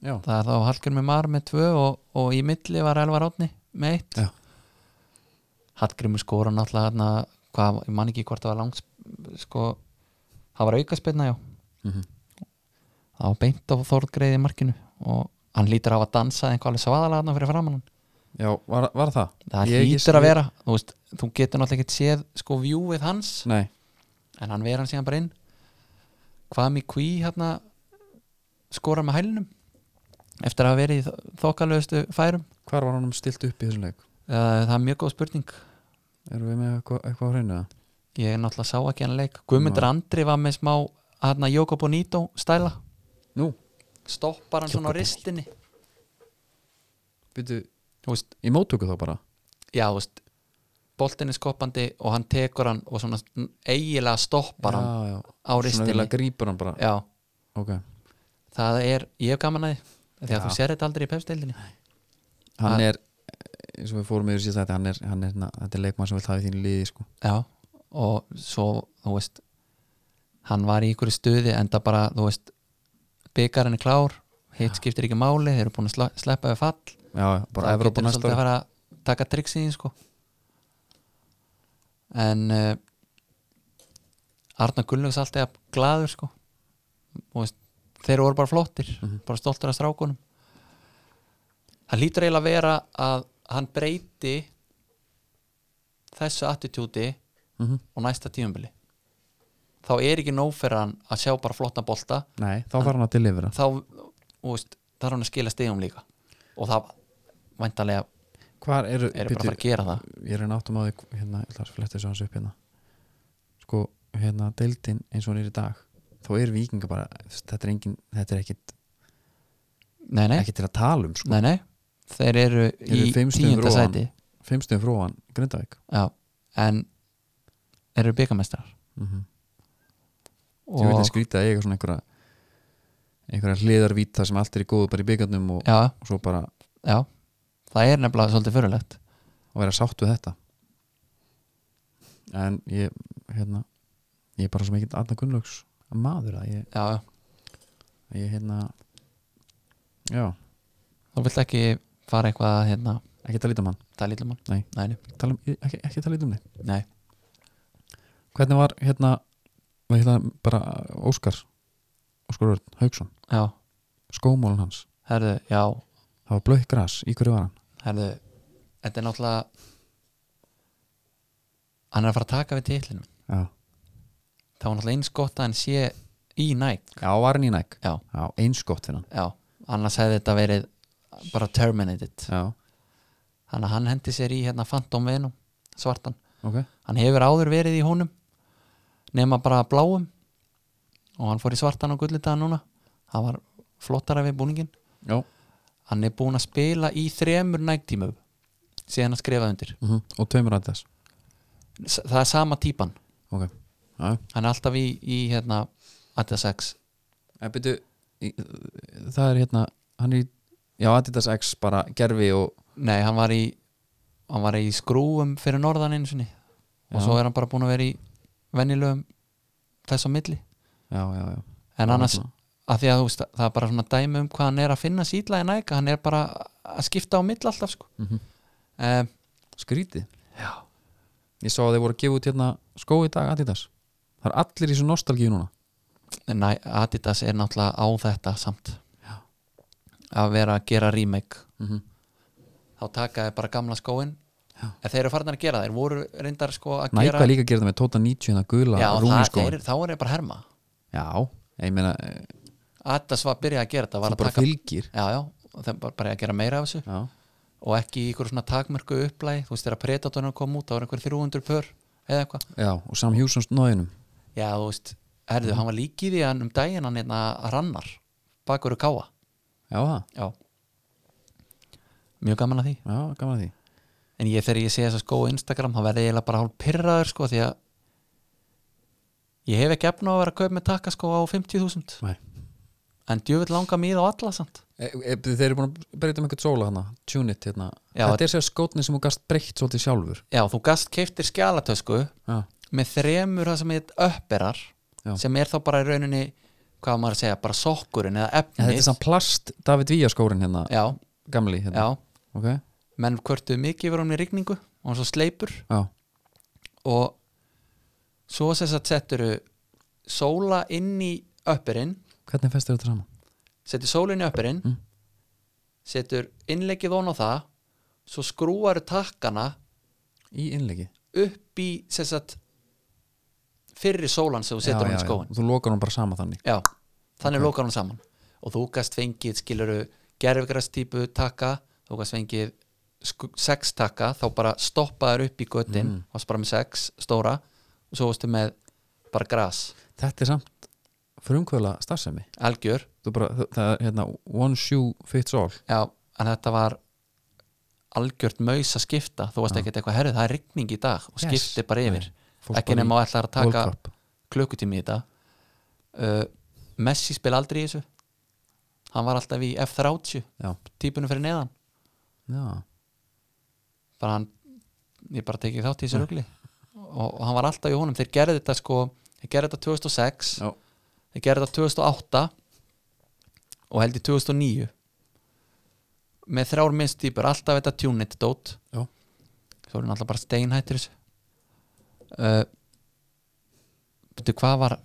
S1: já,
S2: það er þá Hallgrim Mar með tvö og, og í milli var Elvar Átni með eitt
S1: Já.
S2: Hallgrimur skora náttúrulega hérna, hvað, ég man ekki hvort það var langs sko, það var aukaspilna já
S1: mm -hmm.
S2: það var beint á Þórgreiði markinu og hann lítur á að dansa einhvað alveg svaðalega hérna fyrir framann hann
S1: já var, var það?
S2: það
S1: Ég hef ekki
S2: hlýtur að
S1: séð-
S2: vera þú, veist, þú getur náttúrulega ekkert séð sko vjúið hans
S1: Nei,
S2: en hann verið hann síðan bara inn hvað mig kví hérna skora með hælunum eftir að hafa verið í þokkalugustu færum
S1: hvar var honum stilt upp í þessum leik?
S2: Uh, það er mjög góð spurning
S1: Erum við með eitthvað, eitthvað á hreinu? eða?
S2: ég náttúrulega sá ekki hann leik Guðmundur Andri var með smá hérna Jóko Bonito stæla
S1: Nú,
S2: stoppar hann svona á
S1: Joko
S2: ristinni
S1: byrju,
S2: þú veist,
S1: í móttöku þá bara
S2: já þú veist boltin er skoppandi og hann tekur hann og svona eigilega stoppar hann
S1: já, já.
S2: á
S1: Svona
S2: ristinni
S1: eiginlega grípur hann bara
S2: já,
S1: Ok,
S2: það er, ég hef gaman að því því að
S1: Já.
S2: þú sér þetta aldrei í pepsteildinni
S1: hann
S2: Hann-
S1: er eins og við fórum yfir síðan þetta hann er, hann er, na, þetta er leikmann sem vil hafa í þínu liði sko.
S2: já, og svo þú veist, hann var í ykkur stuði en það bara, þú veist byggarinn er klár, hitt skiptir ekki máli þeir eru búin að sla- sleppa við fall
S1: já, já, bara
S2: þá
S1: Evrópa
S2: getur hann
S1: næsta
S2: svolítið að
S1: ári.
S2: fara að taka tricks í því sko en uh, Arna Gullnöks alltaf er glaður sko Þú veist, þeir voru bara flottir
S1: Mhm.
S2: bara stoltur af strákunum það lítur eiginlega að vera að hann breyti þessu attitúti
S1: Mhm.
S2: og næsta tíumbili þá er ekki nóg fyrir hann að sjá bara flottan bolta
S1: Nei, þá var hann að delivera
S2: þá þú veist, þarf hann að skila stegum líka og það væntalega
S1: Hvar eru,
S2: er bara að fara að gera það
S1: ég er náttum á því hérna, ég ætla að fletta þessu hans upp hérna sko, hérna, deildin eins og hann er í dag þá er vikinga bara, þess- þetta er engin þetta er ekkit,
S2: nei, nei,
S1: ekkit til að tala um sko.
S2: nei, nei. þeir eru
S1: Eru
S2: í
S1: fimm stigum
S2: tíunda
S1: fyrir ofan.
S2: sæti
S1: fimmstum fróan, Grindavík
S2: já, en eru byggamestrar
S1: mm -hmm. ég vil
S2: og,
S1: skrýta að eiga svona einhverja einhverja hliðarvíta sem allt er í góðu bara í byggarnum og,
S2: já,
S1: og svo bara
S2: já það er nefnilega svolítið förulegt
S1: að vera sátt við þetta en ég hérna, ég er bara svo mikið Arna Gunnlaugs maður að ég,
S2: já, já,
S1: að ég hérna já,
S2: þú vilt ekki fara eitthvað að, hérna,
S1: ekki tala lítum hann
S2: það er lítlum
S1: Nei.
S2: nei, nei,
S1: tala, um- ekki, ekki tala lítum hann
S2: nei.
S1: hvernig var hérna, var hérna bara Óskar Óskar Örn Hauksson,
S2: já,
S1: skómólin hans
S2: herðu, já
S1: það var blöitt gras, í hverju var hann
S2: Herðu, þetta er náttúrulega hann er að fara að taka við titlinum
S1: já,
S2: þá var náttúrulega eins gott að hann sé í Nike
S1: já var hann í næk
S2: já,
S1: já, eins gott fyrir hann
S2: já, annars hefði þetta verið bara terminated
S1: já,
S2: þannig að hann hendi sér í hérna Phantom Venom svartan,
S1: ok,
S2: hann hefur áður verið í honum nema bara bláum og hann fór í svartan og gullitaðan núna hann var flottara við búningin
S1: já
S2: hann er búinn að spila í þremur nægtímum síðan að skrifa undir
S1: mm og tveimur að þess
S2: S það er sama típan,
S1: ok, já, já.
S2: hann er alltaf í, í hérna Adidas X
S1: En byrju, í- það er hérna hann er í, já, Adidas X bara gerfi og
S2: nei, hann var í hann var í skrúum fyrir norðan einu sinni og
S1: Já.
S2: svo er hann bara búinn að vera í venjulegum þess á milli
S1: já, já, já,
S2: en
S1: Já,
S2: annars,
S1: svona.
S2: að því að þú veist það er bara svona dæmi um hvað hann er að finna síðla í næg hann er bara að skipta á milli alltaf sko. mm
S1: Mhm.
S2: um,
S1: skrítið
S2: já,
S1: ég sá að þeir voru að gefa út hérna skó í dag Adidas það er allir í svo nostalgíu núna
S2: En Næ, Adidas er náttúrulega á þetta samt að vera að gera remake
S1: Mhm.
S2: þá taka þeir bara gamla skóin
S1: Já.
S2: en þeir eru farnir að gera þeir voru reyndar sko að
S1: Nike
S2: gera
S1: var líka að gera það með Tota 90 hérna gula
S2: já, það,
S1: rúniskó
S2: þeir, þá er þeir bara að herma
S1: já, ég meina eh,
S2: Adidas var að byrja að gera þetta var
S1: þú
S2: að
S1: bara
S2: taka,
S1: fylgir
S2: já, já, og þeir bara, bara að gera meira af þessu
S1: já,
S2: og ekki í ykkur svona takmörku upplæg þú veist þegar Predatorinn kom út þá var einhver 300 pör eða eitthvað
S1: já, og Sam Hjúsons náðinum
S2: já, þú veist, herðu, hann var líkið í því hann um daginn hann hérna rannar bakur káa
S1: já, það,
S2: já mjög gaman að því
S1: já, gaman að því
S2: en ég þegar ég sé þess að skó á Instagram þá verði ég eiginlega bara hálf pyrraður sko því að ég hef ekki efna að vera að kaup með takka sko á 50.000
S1: Nei.
S2: en djöfull langa míð á alla samt
S1: E, e, þeir eru búin að breyta um einhvern sóla hana Tune It hérna
S2: Já,
S1: þetta er sér skótni sem þú gast breytt svolítið sjálfur
S2: já þú gast keiftir skjalatösku
S1: já,
S2: með þremur það sem heit öpperar
S1: Já.
S2: sem er þá bara í rauninni hvað á maður að segja, bara sokkurinn eða
S1: En þetta
S2: efnið
S1: er samt plast David Villa skórin hérna
S2: já,
S1: gamli
S2: já,
S1: hérna ok,
S2: menn kvörtuðu mikið yfir honum í rigningu og hann svo sleipur
S1: já,
S2: og svo sem sagt setturu sóla inn í öpperinn
S1: hvernig festir þetta saman
S2: setur sólinni öppurinn mm. setur innleggið von á það svo skrúar takkana
S1: í innleggi
S2: upp í sem sagt, fyrri sólan sem þú
S1: Já,
S2: setur hann
S1: já,
S2: í
S1: já.
S2: skóin
S1: og þú lokar hún bara sama þannig
S2: já, þannig lokar hann saman og þú gast fengið skiluru gerfgrastípu takka þú gast fengið sku- sex takka þá bara stoppaður upp í göttin mm. varst bara með sex stóra og svo varstu með bara gras
S1: þetta er samt frumkvöla starfsemi
S2: algjör
S1: Þú bara, þa- það er hérna one shoe fits all
S2: Já, en þetta var algjört maus að skipta þú varst ekkert eitthvað herrið, það er rigning í dag og
S1: Yes.
S2: skipti bara yfir,
S1: Nei, fólk
S2: ekki
S1: bara í
S2: nema að ætlar að
S1: World
S2: taka
S1: Cup.
S2: klukkutími í þetta uh, Messi spila aldrei í þessu hann var alltaf í F30
S1: já,
S2: típunum fyrir neðan
S1: já,
S2: bara hann, ég bara tekið þátt í þessu rugli og, og hann var alltaf í honum þeir gerði þetta sko, þeir gerði þetta 2006
S1: já,
S2: þeir gerði þetta 2008 og held í 2009 með þrjár minnstýpur alltaf þetta tunit dót
S1: já.
S2: svo eru náttúrulega bara steinhættir þessu uh, betur hvað var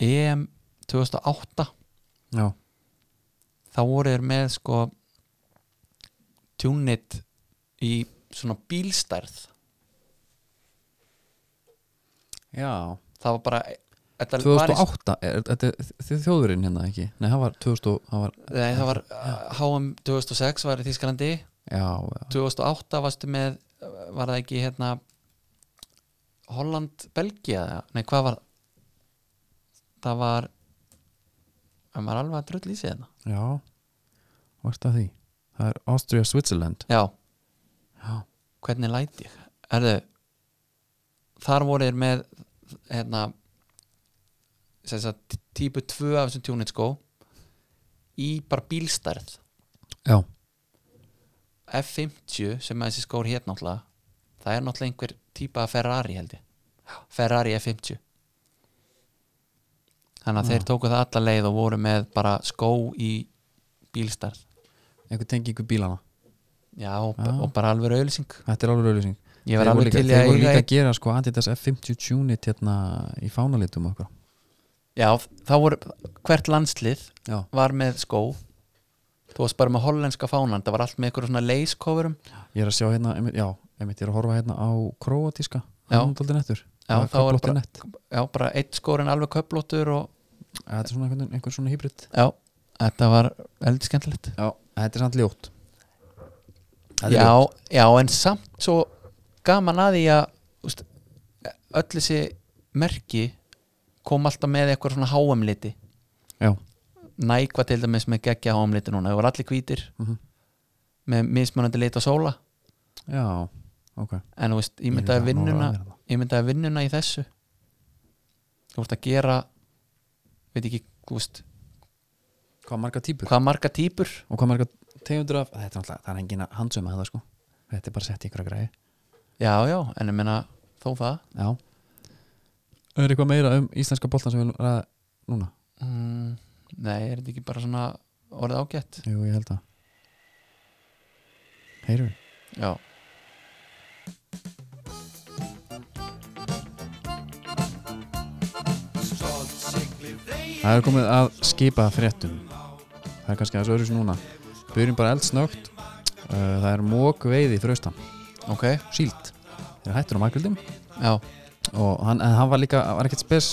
S2: E EM 2008
S1: já.
S2: þá voru þeir með sko tjúnit í svona bílstærð
S1: já.
S2: það var bara þetta var í-
S1: 2008, er, þetta er þið þjóðurinn hérna ekki nei, það var 2000, og- það var
S2: Nei, það var uh, HM 2006 var í Þískalandi
S1: já, já,
S2: 2008 varstu með var það ekki hérna Holland, Belgia eða- nei hvað var það var það var alveg að drull í sig hérna
S1: já varst að því það er Austria Switzerland
S2: já,
S1: já,
S2: hvernig læt ég Erðu, þar voru þeir með hérna sem sagt, típu 2 af þessum tjúnit skó í bara bílstærð
S1: já,
S2: F50 sem að þessi skór hér náttúrulega það er náttúrulega einhver típa af Ferrari held ég Ferrari F50 þannig að þeir tóku það alla leið og voru með bara skó í bílstærð
S1: einhver tengi ykkur bílana
S2: já og, og bara alveg auðlýsing
S1: Þetta er alveg auðlýsing
S2: Ég var alveg
S1: líka,
S2: til í
S1: Þeir
S2: að
S1: voru
S2: eiga
S1: líka
S2: einn-
S1: að gera sko Adidas F50 Tunit hérna í fánalitum okkur
S2: já þá voru hvert landslið
S1: Já,
S2: var með skó þú varst bara með hollenska fánan það var allt með einhverjum svona leyskofurum
S1: ég er að sjá hérna einmitt, Já, einmitt, ég er að horfa hérna á króatíska Já.
S2: Já.
S1: Hann er daldið nettur.
S2: Já,
S1: Það er
S2: þá er
S1: köflótt í
S2: bara-
S1: nett.
S2: já, bara eitt skórin alveg köplótur og
S1: Þetta er svona einhvern, einhvern svona hýbrit.
S2: já, þetta var heldur skemmtilegt
S1: Já, þetta er samt ljótt. Þetta er
S2: já,
S1: ljótt.
S2: já, en samt svo gaman að því að úst, öll þessi merki kom alltaf með eitthvað svona háumliti
S1: Já.
S2: Nike var til dæmis með geggja háumliti núna, það voru allir hvítir
S1: Mhm.
S2: með mismunandi lit á sóla
S1: Já, ok.
S2: en þú veist, ég
S1: Ég
S2: myndaði
S1: er nára
S2: vinnuna
S1: að vera
S2: ég myndaði vinnuna í þessu þú veist að gera veit ekki, þú veist
S1: Hvað marga típur?
S2: hvað marga típur
S1: Og hvað marga tegundur af? Þetta er alltaf, það er engin að handsöma það sko. Þetta er bara sett í ykkur að græði.
S2: já, já, en ég meina þó það
S1: Já. Er eitthvað meira um íslenska boltan sem við viljum ræða núna?
S2: mm, nei, er þetta ekki bara svona orðið ágætt
S1: Jú, ég held að. Heyrðu.
S2: já
S1: Það er komið að skipa fréttum Það er kannski aðeins öðru sem núna Byrjum bara eldsnögt Uh, Það er mók veiði fraustan
S2: ok,
S1: Síld Það er hættur á makvildum
S2: já,
S1: Og hann, en hann var líka, hann var ekkert spes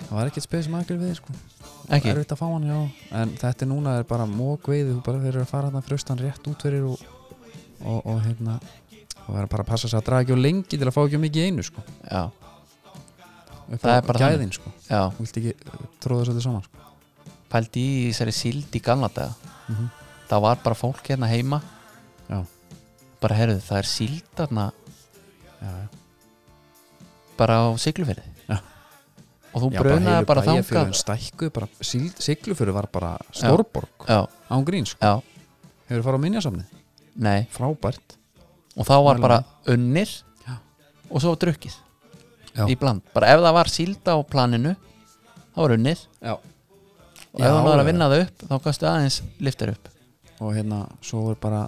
S1: Það var ekkert spes makvild veiði sko Það
S2: ekki
S1: er veit að fá hann, já En þetta er núna er bara mók veiði Þú bara verður að fara hann fraustan rétt út fyrir Og, og, og hérna Og verður bara að passa sig að draga ekki á lengi Til að fá ekki á mikið í einu sko
S2: já,
S1: Upp á
S2: Það er bara
S1: gæðin sko
S2: já,
S1: Þú vilt ekki uh, tróða þessu saman sko
S2: pældi í þessari síld í gamla daga
S1: Mhm.
S2: það var bara fólk hérna heima
S1: Já.
S2: bara herðu, það er síld þarna
S1: Já, já
S2: bara á sigluferði
S1: Já.
S2: og þú
S1: Já,
S2: brunaði bara
S1: heilu
S2: þangað
S1: bæjarfélögin stækkuðu bara, síld- Siglufjörður var bara stórborg
S2: já,
S1: án gríns, sko.
S2: já,
S1: hefur farið á minjasamnið
S2: nei
S1: frábært,
S2: og þá var
S1: Mæla
S2: bara unnir
S1: Já.
S2: og svo var drukkið
S1: Já.
S2: í bland, bara ef það var sílda á planinu þá var unnir
S1: já.
S2: og ef það var
S1: já,
S2: að vinna það upp þá kostu aðeins liftar upp
S1: og hérna, svo er bara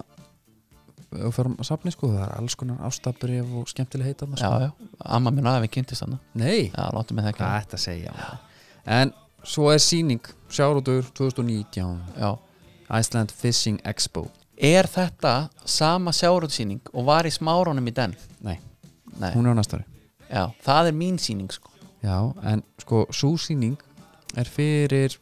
S1: og fyrir að safni sko, það er alls konar ástabrif og skemmtileg heita
S2: já,
S1: sko.
S2: já, amma minn aðeins kynntist hann
S1: nei,
S2: já, láttu mig það
S1: hvað
S2: ekki
S1: er þetta að segja maður? en svo er síning Sjárótur 2019
S2: já.
S1: Iceland Fishing Expo
S2: er þetta sama sjárótsýning og var í smárónum í den
S1: nei,
S2: nei,
S1: hún er á næstari
S2: já, það er mín sýning sko
S1: já, en sko, svo síning er fyrir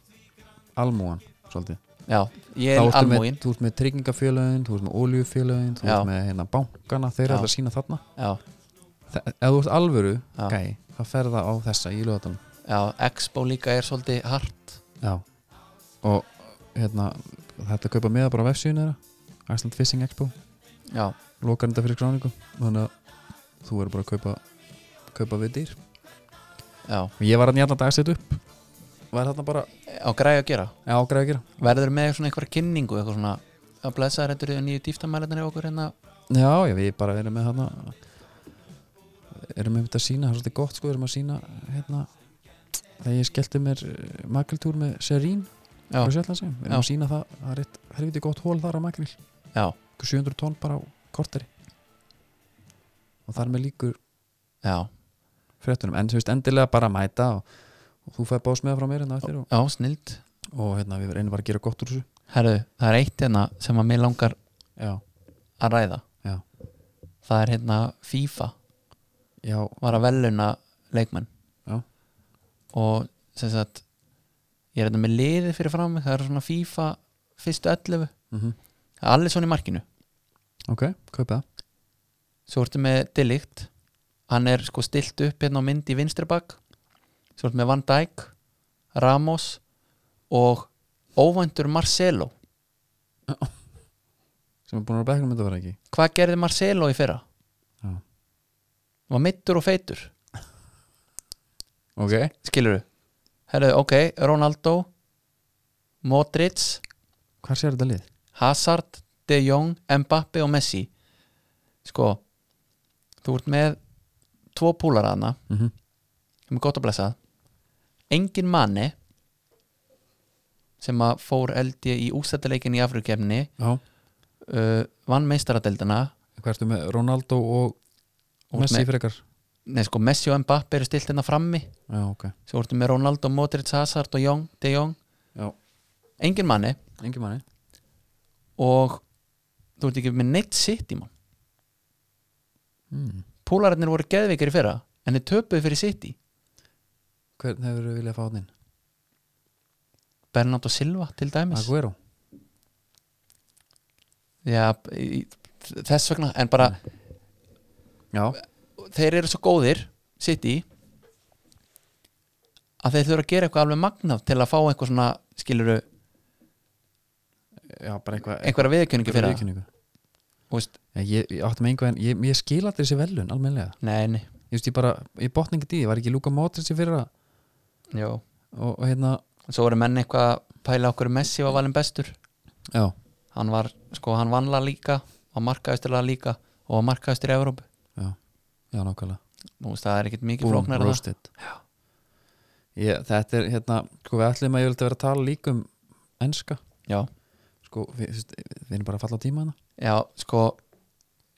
S1: almúan, svolítið
S2: já, ég
S1: Þá
S2: er
S1: ertu
S2: almúin
S1: með, þú ert með tryggingafélögin, þú ert með oljufélögin þú
S2: Já.
S1: ert með hérna bankana, þeir eru
S2: Já.
S1: allir að sína þarna
S2: já,
S1: Þa, ef þú ert alvöru,
S2: Já.
S1: gæi, það ferða á þessa í lögatunum
S2: já, Expo líka er svolítið hart
S1: já. og hérna þetta kaupa með bara á vefsíðun þeirra Iceland Fishing Expo,
S2: já,
S1: lokar þetta fyrir skráningu þannig að þú verður bara að kaupa kaupa við dýr
S2: já,
S1: ég var hérna allan dag að setja upp var þarna bara,
S2: á græði að gera
S1: já, greið að gera
S2: verður með svona einhverja kynningu eitthvað svona að blessa þetta eru nýju dýftamælarnir hjá okkur hérna
S1: já, já, við bara erum með þarna erum með þetta að sína það er svolítið gott sko, erum að sína hérna, þegar ég skellti mér makreltúr með Serín
S2: já,
S1: frá Sjællandsey, við erum
S2: Já.
S1: að sína það það er eitt helviti gott hól þar á makrel
S2: já,
S1: 700 tonn bara á korteri og þar með líkur
S2: já,
S1: fréttunum, en þú veist endilega bara að mæta og, og þú fæði bás með frá mér hérna á eftir og,
S2: já, snild
S1: og hérna við reynum bara að gera gott úr þessu
S2: herru, það er eitt hérna sem að mér langar
S1: já,
S2: að ræða
S1: já,
S2: það er hérna FIFA
S1: já,
S2: var að veluna leikmenn
S1: Já.
S2: og sem sagt ég er hérna með liðið fyrir fram mig, það er svona FIFA fyrstu 11
S1: mm
S2: það er allir svona í markinu
S1: ok, kaupa það
S2: svo ertu með Delikt hann er sko stilt upp hérna á mynd í vinstribak svo ertu með Van Dijk Ramos og óvæntur Marcelo
S1: sem er búin að vera á bekknum þetta var ekki
S2: hvað gerði Marcelo í fyrra?
S1: Já.
S2: var mittur og feitur
S1: ok,
S2: skilur du? Herðu, ok, Ronaldo Modric
S1: hvað sér þetta lið?
S2: Hazard, De Jong, Mbappe og Messi sko þú ert með tvo púlar aðna
S1: Mm
S2: sem er gott að blessa engin manni sem að fór held ég í ústættileikin í Afrikefni
S1: já,
S2: uh, vann meistaradeldina
S1: Hvað ertu með Ronaldo og
S2: Og
S1: Messi
S2: með-
S1: frekar?
S2: nei sko Messi og Mbappe eru stilt hérna frammi
S1: Já, ok.
S2: svo ertu með Ronaldo, Modric, Hazard og Jong, De Jong
S1: Já,
S2: engin manni
S1: engi manni.
S2: og þú ert ekki með neitt sitt í mann
S1: Mm.
S2: púlararnir voru geðveikir í fyrra en þeir töpuðu fyrir sitt í
S1: Hvern hefur við viljað fá hann inn?
S2: Bernardo Silva til dæmis
S1: Aguero
S2: Já, í, þess vegna en bara,
S1: Já,
S2: þeir eru svo góðir sitt í að þeir þurfa að gera eitthvað alveg magnað til að fá eitthvað svona, skiluru
S1: já bara eitthvað
S2: einhverja viðkynningu fyrir það
S1: viðurkenningu.
S2: Þú veist,
S1: Ég, ég, ég átti með einhver en ég, ég skil allir þessi velun almenlega
S2: Nei, nei,
S1: Ég veist ég bara, ég botna ekki því, var ekki Luka Modric í fyrra
S2: já
S1: og, og hérna,
S2: Svo voru menn eitthvað að pæla okkur Messi var valin bestur
S1: já
S2: hann var, sko, hann vanla líka var markaðustilega líka og var markaðustur í Evrópu
S1: Já, já nákvæmlega
S2: Nú veist, það er ekkit mikið
S1: Boom,
S2: flóknar
S1: roasted ég, Þetta er hérna, sko við ætlum að ég vildi vera að tala líka um enska
S2: Já,
S1: Sko, við, þú veist, við erum bara að falla á tíma hérna. hana
S2: já, sko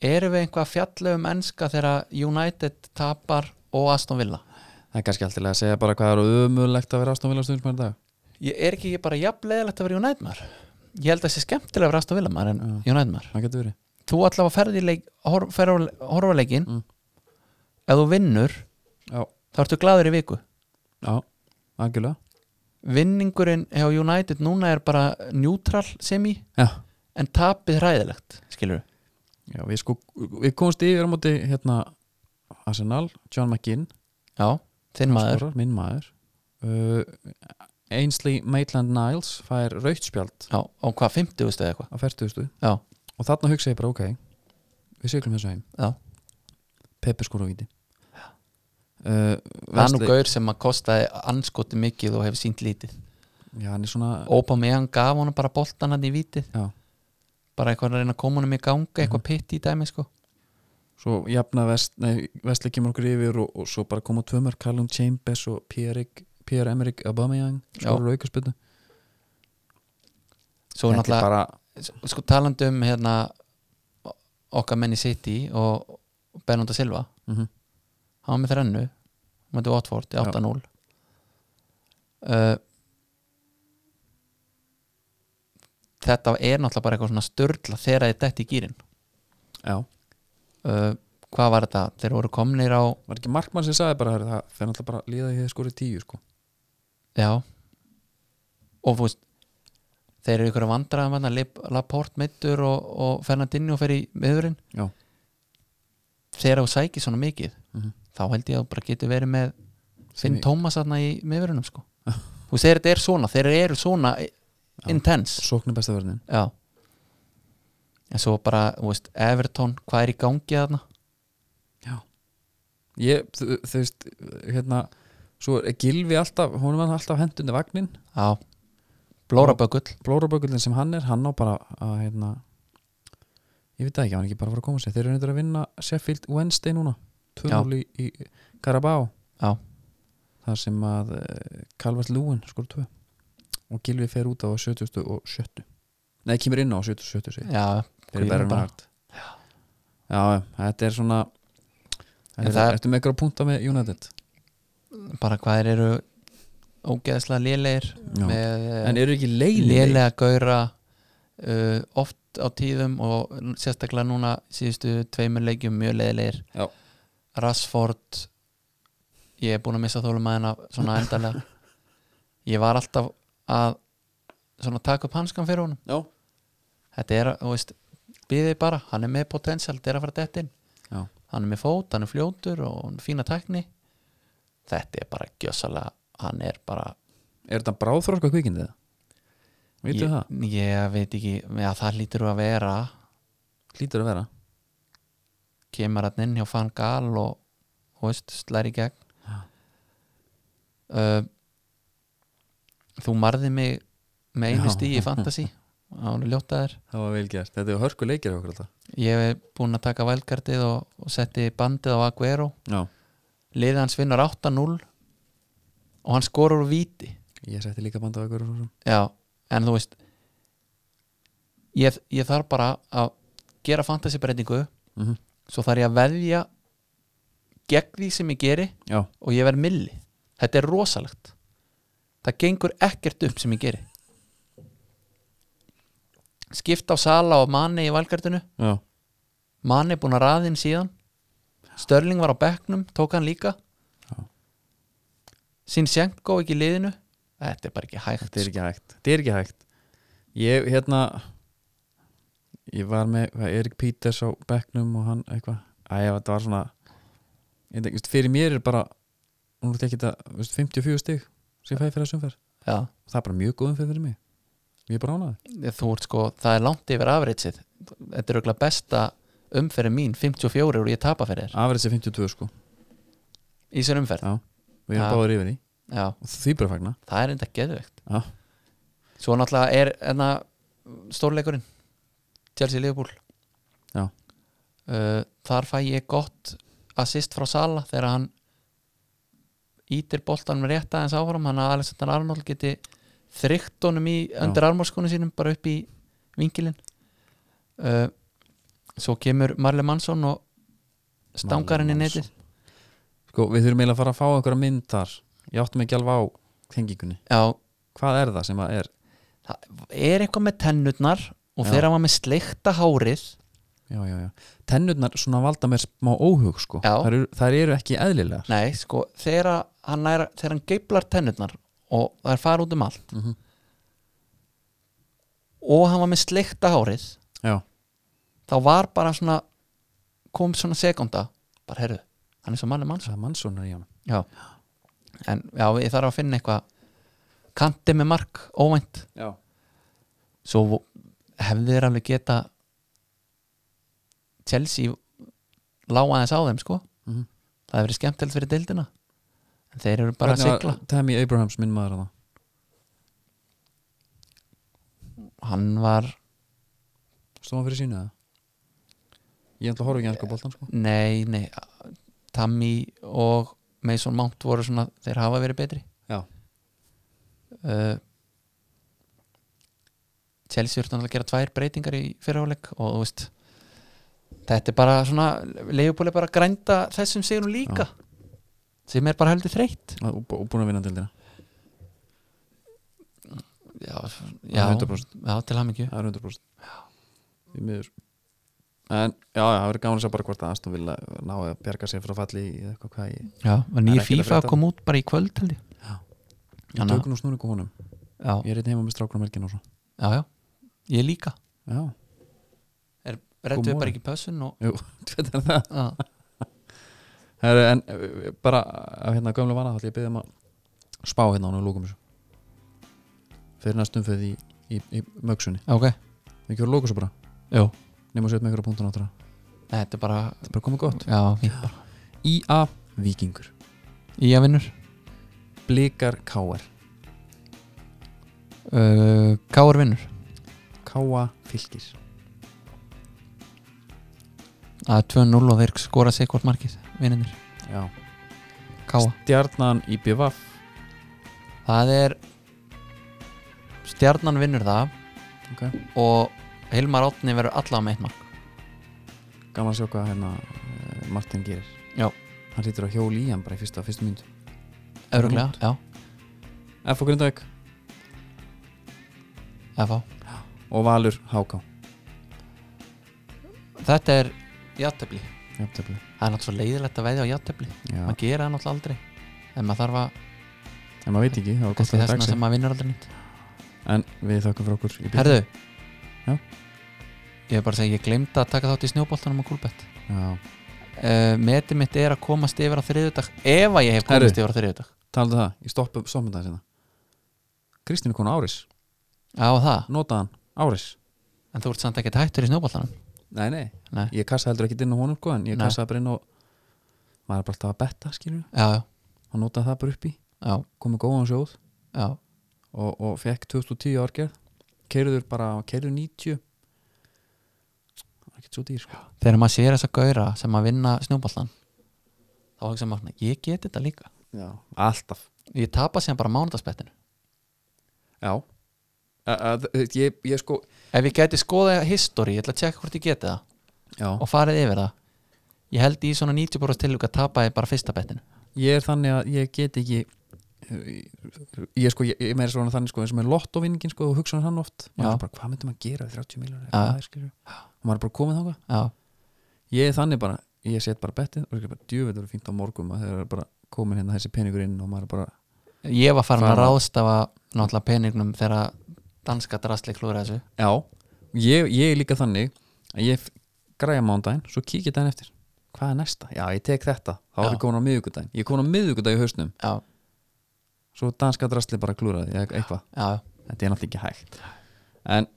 S2: erum við eitthvað að fjalla um enska þegar United tapar og Aston Villa
S1: Það er kannski alltilega að segja bara hvað er ömulegt að vera Aston Villa stundum í dag
S2: Ég er ekki bara jafn leðilegt að vera United maður Ég held að það sé skemmtilega að vera Aston Villa maður en
S1: Já.
S2: United maður
S1: Það getur verið
S2: Þú allavega ferði leik, hor, fer á horfaleikinn
S1: Mm.
S2: ef þú vinnur
S1: Já,
S2: þá ertu glaður í viku
S1: já, algjörlega
S2: vinningurinn hjá United núna er bara neutral semi
S1: Já,
S2: en tapið hræðilegt skilur
S1: já við sko, við komumst yfir á móti hérna Arsenal, John McGinn
S2: já, þinn
S1: hann
S2: maður
S1: skorar, Minn maður uh, Ainsley Maitland Niles fær rautt spjald
S2: já, og hvað, 50 eða eitthvað
S1: á 40.
S2: já,
S1: og þarna hugsa ég bara ok við siglum þessu heim
S2: já.
S1: Pepe skora á víti uh,
S2: það er nú
S1: Wesley-
S2: gaur sem að kostaði anskoti mikið og hefur sínt lítið
S1: Já, hann er svona
S2: Aubameyang gaf honum bara boltan hann í vítið
S1: já. Mhm.
S2: bara eitthvað að reyna að koma honum í ganga eitthvað pitt í dæmi sko
S1: Svo jafna vest, nei, Vesli kemur okkur yfir og, og svo bara koma tvö mörg Callum Chambers og Pierre-Emerick Aubameyang skora aukarspildu
S2: svo er náttúrulega
S1: bara
S2: sko talandi um hérna o- okkar menni City og Bernardo Silva
S1: mm
S2: hann var með þrennu mætti Watford í 8-0 uh, þetta er náttúrulega bara eitthvað svona störla þegar þið detti í gýrin
S1: Já,
S2: uh, hvað var þetta? þeir voru komnir á
S1: var ekki markmann sem sagði bara "Herri, það fyrir náttúrulega bara líða að ég hef skorið tíu sko.
S2: já og fúst þeir eru ykkur að vandræða með þetta Laporte meittur og, og Fernandinho fer í miðurinn
S1: Já,
S2: þegar þú sækir svona mikið
S1: Mhm.
S2: þá held ég að þú bara getur verið með Finn
S1: Sem-
S2: Tómas aðna í miðurinnum sko þú segir þetta er svona, þeir eru svona intense
S1: sóknir besta verðin
S2: Já En svo bara, þú veist, Everton hvað er í gangi þarna?
S1: Ég, þú þú veist, hérna svo er Gilvi alltaf, hún var alltaf hendundi vagnin,
S2: Já Blórabökull
S1: blórabökullin sem hann er hann á bara að hérna ég veit það ekki, hann er ekki bara að fara að koma sér þeir eru reyndur að vinna Sheffield Wednesday núna 2-0 í, í Carabao
S2: Já.
S1: þar sem að uh, Calvert Lúin skor 2 og Gilvi fer út á 70 og 70 nei, kemur inn á 70 og 70 segi ég.
S2: Já,
S1: fyrir
S2: Guðjón
S1: Bergen
S2: bara.
S1: Hart já, já, þetta er svona
S2: En
S1: þetta
S2: það-
S1: er, ertu með eitthvað að punta með United
S2: bara hvað þeir eru ógeðslega lélegir
S1: Já.
S2: með eh,
S1: en eru ekki leiðileg
S2: lélega gaura uh, oft á tíðum og sérstaklega núna síðustu tveimur leikjum mjög lélegir
S1: Já.
S2: Rashford ég er búin að missa þólum að hennar svona endalega ég var alltaf að svona taka upp hanskan fyrir honum
S1: já,
S2: þetta er, að, þú veist, býðið bara hann er með potential, þetta er að fara dett inn
S1: já,
S2: hann er með fót, hann er fljótur og hann er fína tækni þetta er bara gjössalega, hann er bara
S1: er þetta bráðþróska kvikindið veitu það,
S2: ég, ég veit ekki, já, það lítur að vera
S1: lítur að vera
S2: kemur hann inn hjá Van Gaal og þú veist, slæri gegn uh, þú marði mig með einu
S1: Já.
S2: stíð í fantasy hann er ljótaður
S1: það var vel gert, þetta er hörku leikir hjá okkur alltaf
S2: ég er búinn að taka vælgardið og, og setti bandið á Aguero
S1: já,
S2: liðið hans vinnur 8-0 og hann skorur úr víti
S1: ég setti líka band á okkur
S2: já, en þú veist ég, ég þarf bara að gera fantasybreytingu
S1: mm -hmm.
S2: svo þarf ég að veðja gegn því sem ég geri
S1: já,
S2: og ég verð milli þetta er rosalegt það gengur ekkert upp sem ég geri skipta á Sala og Mane í valgardinu
S1: já,
S2: Mane er búinn að raðin síðan Störling var á bekknum, tók hann líka Sinchenko ekki í liðinu Þetta er bara ekki hægt
S1: þetta er ekki hægt þetta er ekki hægt ég hérna ég var með hvað, Erik Peters á bekknum og hann eitthvað æja þetta var svona ég, veit ekki, veist, fyrir mér er bara hún er ekki þetta veist, 54 stig sem ég fæði fyrir að sumfer
S2: Já,
S1: það er bara mjög góðum fyrir mig ég er bara ánaði
S2: þú ert sko, það er langt yfir afritsið Þetta er auðvitað besta umferði mín 54 og ég tapa fyrir þér
S1: afriðs er 52 sko
S2: í sér umferð
S1: já við erum
S2: Já.
S1: báður yfir í
S2: Já,
S1: og því bara fagna
S2: það er enda geðveikt
S1: já
S2: Svo náttúrulega er enna stórleikurinn Chelsea Liverpool
S1: Já.
S2: uh, Þar fæ ég gott assist frá Sala þegar hann ítir boltanum rétt aðeins áfram hann að Alexander Arnold geti þrygt honum í undir armórskunum sínum bara upp í vinkilinn uh, Svo kemur Marle Mansson og stangar henni
S1: Manuel
S2: netið
S1: sko við þurfum eiginlega að fara að fá einhverja mynd þar ég áttum ekki alveg á tengingunni
S2: Já,
S1: hvað er það sem að er
S2: það er eitthvað með tennutnar
S1: Já.
S2: og þegar hann var með sleikta hárið
S1: já, já, já. tennurnar svona valda mér smá óhug sko.
S2: Já.
S1: þær eru, þær eru ekki eðlilegar
S2: Nei, sko, þegar að hann, nær, þegar hann geiflar tennurnar og það er fara út um allt
S1: Mhm.
S2: og hann var með sleikta hárið
S1: já,
S2: þá var bara svona kom svona sekunda bara herru, hann er svo manni manns
S1: það er mannssonar í hann
S2: já. en já, ég þarf að finna eitthvað kanti með mark, óvænt
S1: já.
S2: svo vo- hefði þeir alveg geta Chelsea lága aðeins á þeim sko
S1: Mhm.
S2: það hefur verið skemmtilegt fyrir deildina en þeir eru bara að sigla
S1: Tammy Abrahams minn maður hana.
S2: hann var,
S1: stóð hann fyrir sínu eða ég ætla að horfa ekki einska boltan sko.
S2: nei, nei Tammy og Mason Mount voru svona, þeir hafa verið betri
S1: já,
S2: uh, Chelsea eru þannig að gera tvær breytingar í fyrirháleik og þú veist þetta er bara svona, leifupúli bara að grænda þessum sigurum líka sem er bara heldur þreytt
S1: og, og búin að vinna til þér
S2: já, já,
S1: Já, 100%.
S2: já til hann ekki
S1: það er 100% Því miður. en já, já, það verður gaman að sjá bara hvort að Aston vilja ná að bjarga sér frá falli í eða eitthvað hvað ég
S2: já, var
S1: Það er
S2: nýr
S1: ekkert að
S2: FIFA
S1: frétta.
S2: kom út bara í kvöld held ég.
S1: ég
S2: Þannig að-
S1: tökum nú snúningu honum,
S2: já,
S1: ég er einn heima með strákunum helgin og svo
S2: já, já, ég líka
S1: já,
S2: er
S1: God
S2: rettum við
S1: morning.
S2: bara ekki pössun og
S1: jú, þetta er það
S2: já,
S1: Heru, en eh, bara af hérna gömlu vana þá ætla ég að byrja um að spá hérna á hann og lókum þessu fyrir næstum fyrir í, í, í mögsunni
S2: ok,
S1: ekki voru að lóka svo bara
S2: jú
S1: nema sér með ykkur á punktun áttara þetta
S2: Nei, þetta er bara,
S1: er bara komið gott
S2: já, fínt bara
S1: IA Víkingur
S2: í að vinnur
S1: Blikar KR
S2: uh, Káur vinnur
S1: KA Fylgir
S2: að 2-0 og þeir skora sig hvort markið vinninir,
S1: Já.
S2: Káa
S1: Stjarnan IBVF
S2: það er stjarnan vinnur það
S1: okay.
S2: og Hilmar Átni verður allavega með eitt mark
S1: gaman að sjá hvað hérna eh, Martin gerir
S2: Já.
S1: hann hlýtur að hjóli í hann bara í fyrsta, fyrstu mynd
S2: öruglega,
S1: Út.
S2: já,
S1: F og Grindavík
S2: FH
S1: og Valur HK
S2: þetta er játtöfli
S1: Jafntefli.
S2: það er náttúrulega svo leiðilegt að veðja á játtöfli
S1: Já.
S2: maður gera það náttúrulega aldrei en maður þarf að,
S1: en maður veit ekki það var gott
S2: kannski
S1: að
S2: þessna
S1: þetta
S2: sem maður vinnur aldrei nýtt
S1: en við þakkum fyrir okkur í bili.
S2: herðu
S1: Já.
S2: ég er bara að segja, ég glemdi að taka þátt í snjóboltanum á Kúlbett
S1: Já,
S2: uh, metið mitt er að komast yfir á þriðjudag ef að ég hef komast
S1: Herru.
S2: yfir á þriðjudag
S1: talaðu um það, ég stoppa stoppum það sinna hérna. Kristín er konu Áris,
S2: á það,
S1: notaðan Áris
S2: en þú ert samt ekkert hættur í snjóboltanum
S1: Nei, nei,
S2: Nei.
S1: ég kassa heldur ekki inn á honum sko, en ég
S2: Nei.
S1: kassa bara inn á maður er bara alltaf að betta, skilur
S2: já, já,
S1: hann notaði það bara upp í,
S2: já,
S1: komið góðan sjóð
S2: já,
S1: og, og fekk 2010 árgerð keirður bara, keirður 90 það er ekkert svo dýr sko.
S2: þegar maður sér þess að gauðra sem að vinna snjóboltan þá hugsa maður, svona, ég get þetta líka
S1: Já, alltaf
S2: ég tapa sér bara mánudagsbettinu
S1: Já Að- að- þú veist, ég, ég sko
S2: ef ég geti skoða history, ég ætla að tjekka hvort ég geti það
S1: Já.
S2: og farið yfir það ég held í svona 90% tilvík að tapa ég bara fyrsta bettinu
S1: ég er þannig að ég get ekki ég sko, ég, ég meira svona þannig sko eins og með lottovinningin sko og hugsa hann oft
S2: Já.
S1: maður er bara, hvað myndum að gera við 30 miljónir
S2: Já.
S1: og maður er bara komið þangað
S2: já,
S1: ég er þannig bara, ég set bara bettið og ég er bara djúvið verið fínt á morgum að þeir eru bara komin hérna þessi peningur inn og maður er bara
S2: Ég var farin að
S1: Fara.
S2: ráðstafa náttúrulega peningnum þegar danska drastli klúra þessu
S1: já, ég, ég er líka þannig að ég f- græja mándaginn svo kíkja daginn eftir, hvað er næsta? Já, ég tek þetta, þá
S2: Já.
S1: er ég komin á miðvikudaginn ég er komin á miðvikudaginn í hausnum,
S2: Já,
S1: svo danska drastli bara klúraði eða eitthvað,
S2: já,
S1: þetta er náttúrulega ekki hægt en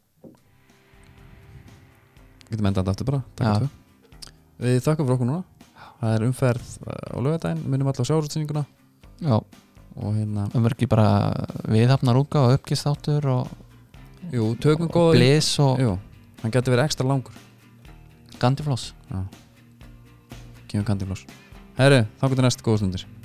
S1: getum endað þetta aftur bara,
S2: Já.
S1: takk tvö við þakkum fyrir okkur núna það er umferð eh, á lögadaginn, minnum alla á sjálfsýninguna
S2: já
S1: og hérna,
S2: um er ekki bara viðhafnar úka og uppgistáttur og,
S1: jú, tökum
S2: og
S1: góða
S2: blis og
S1: jú, hann getur verið ekstra langur
S2: gandifloss
S1: Kemur kandifloss Herru, þá getur næst góða stundir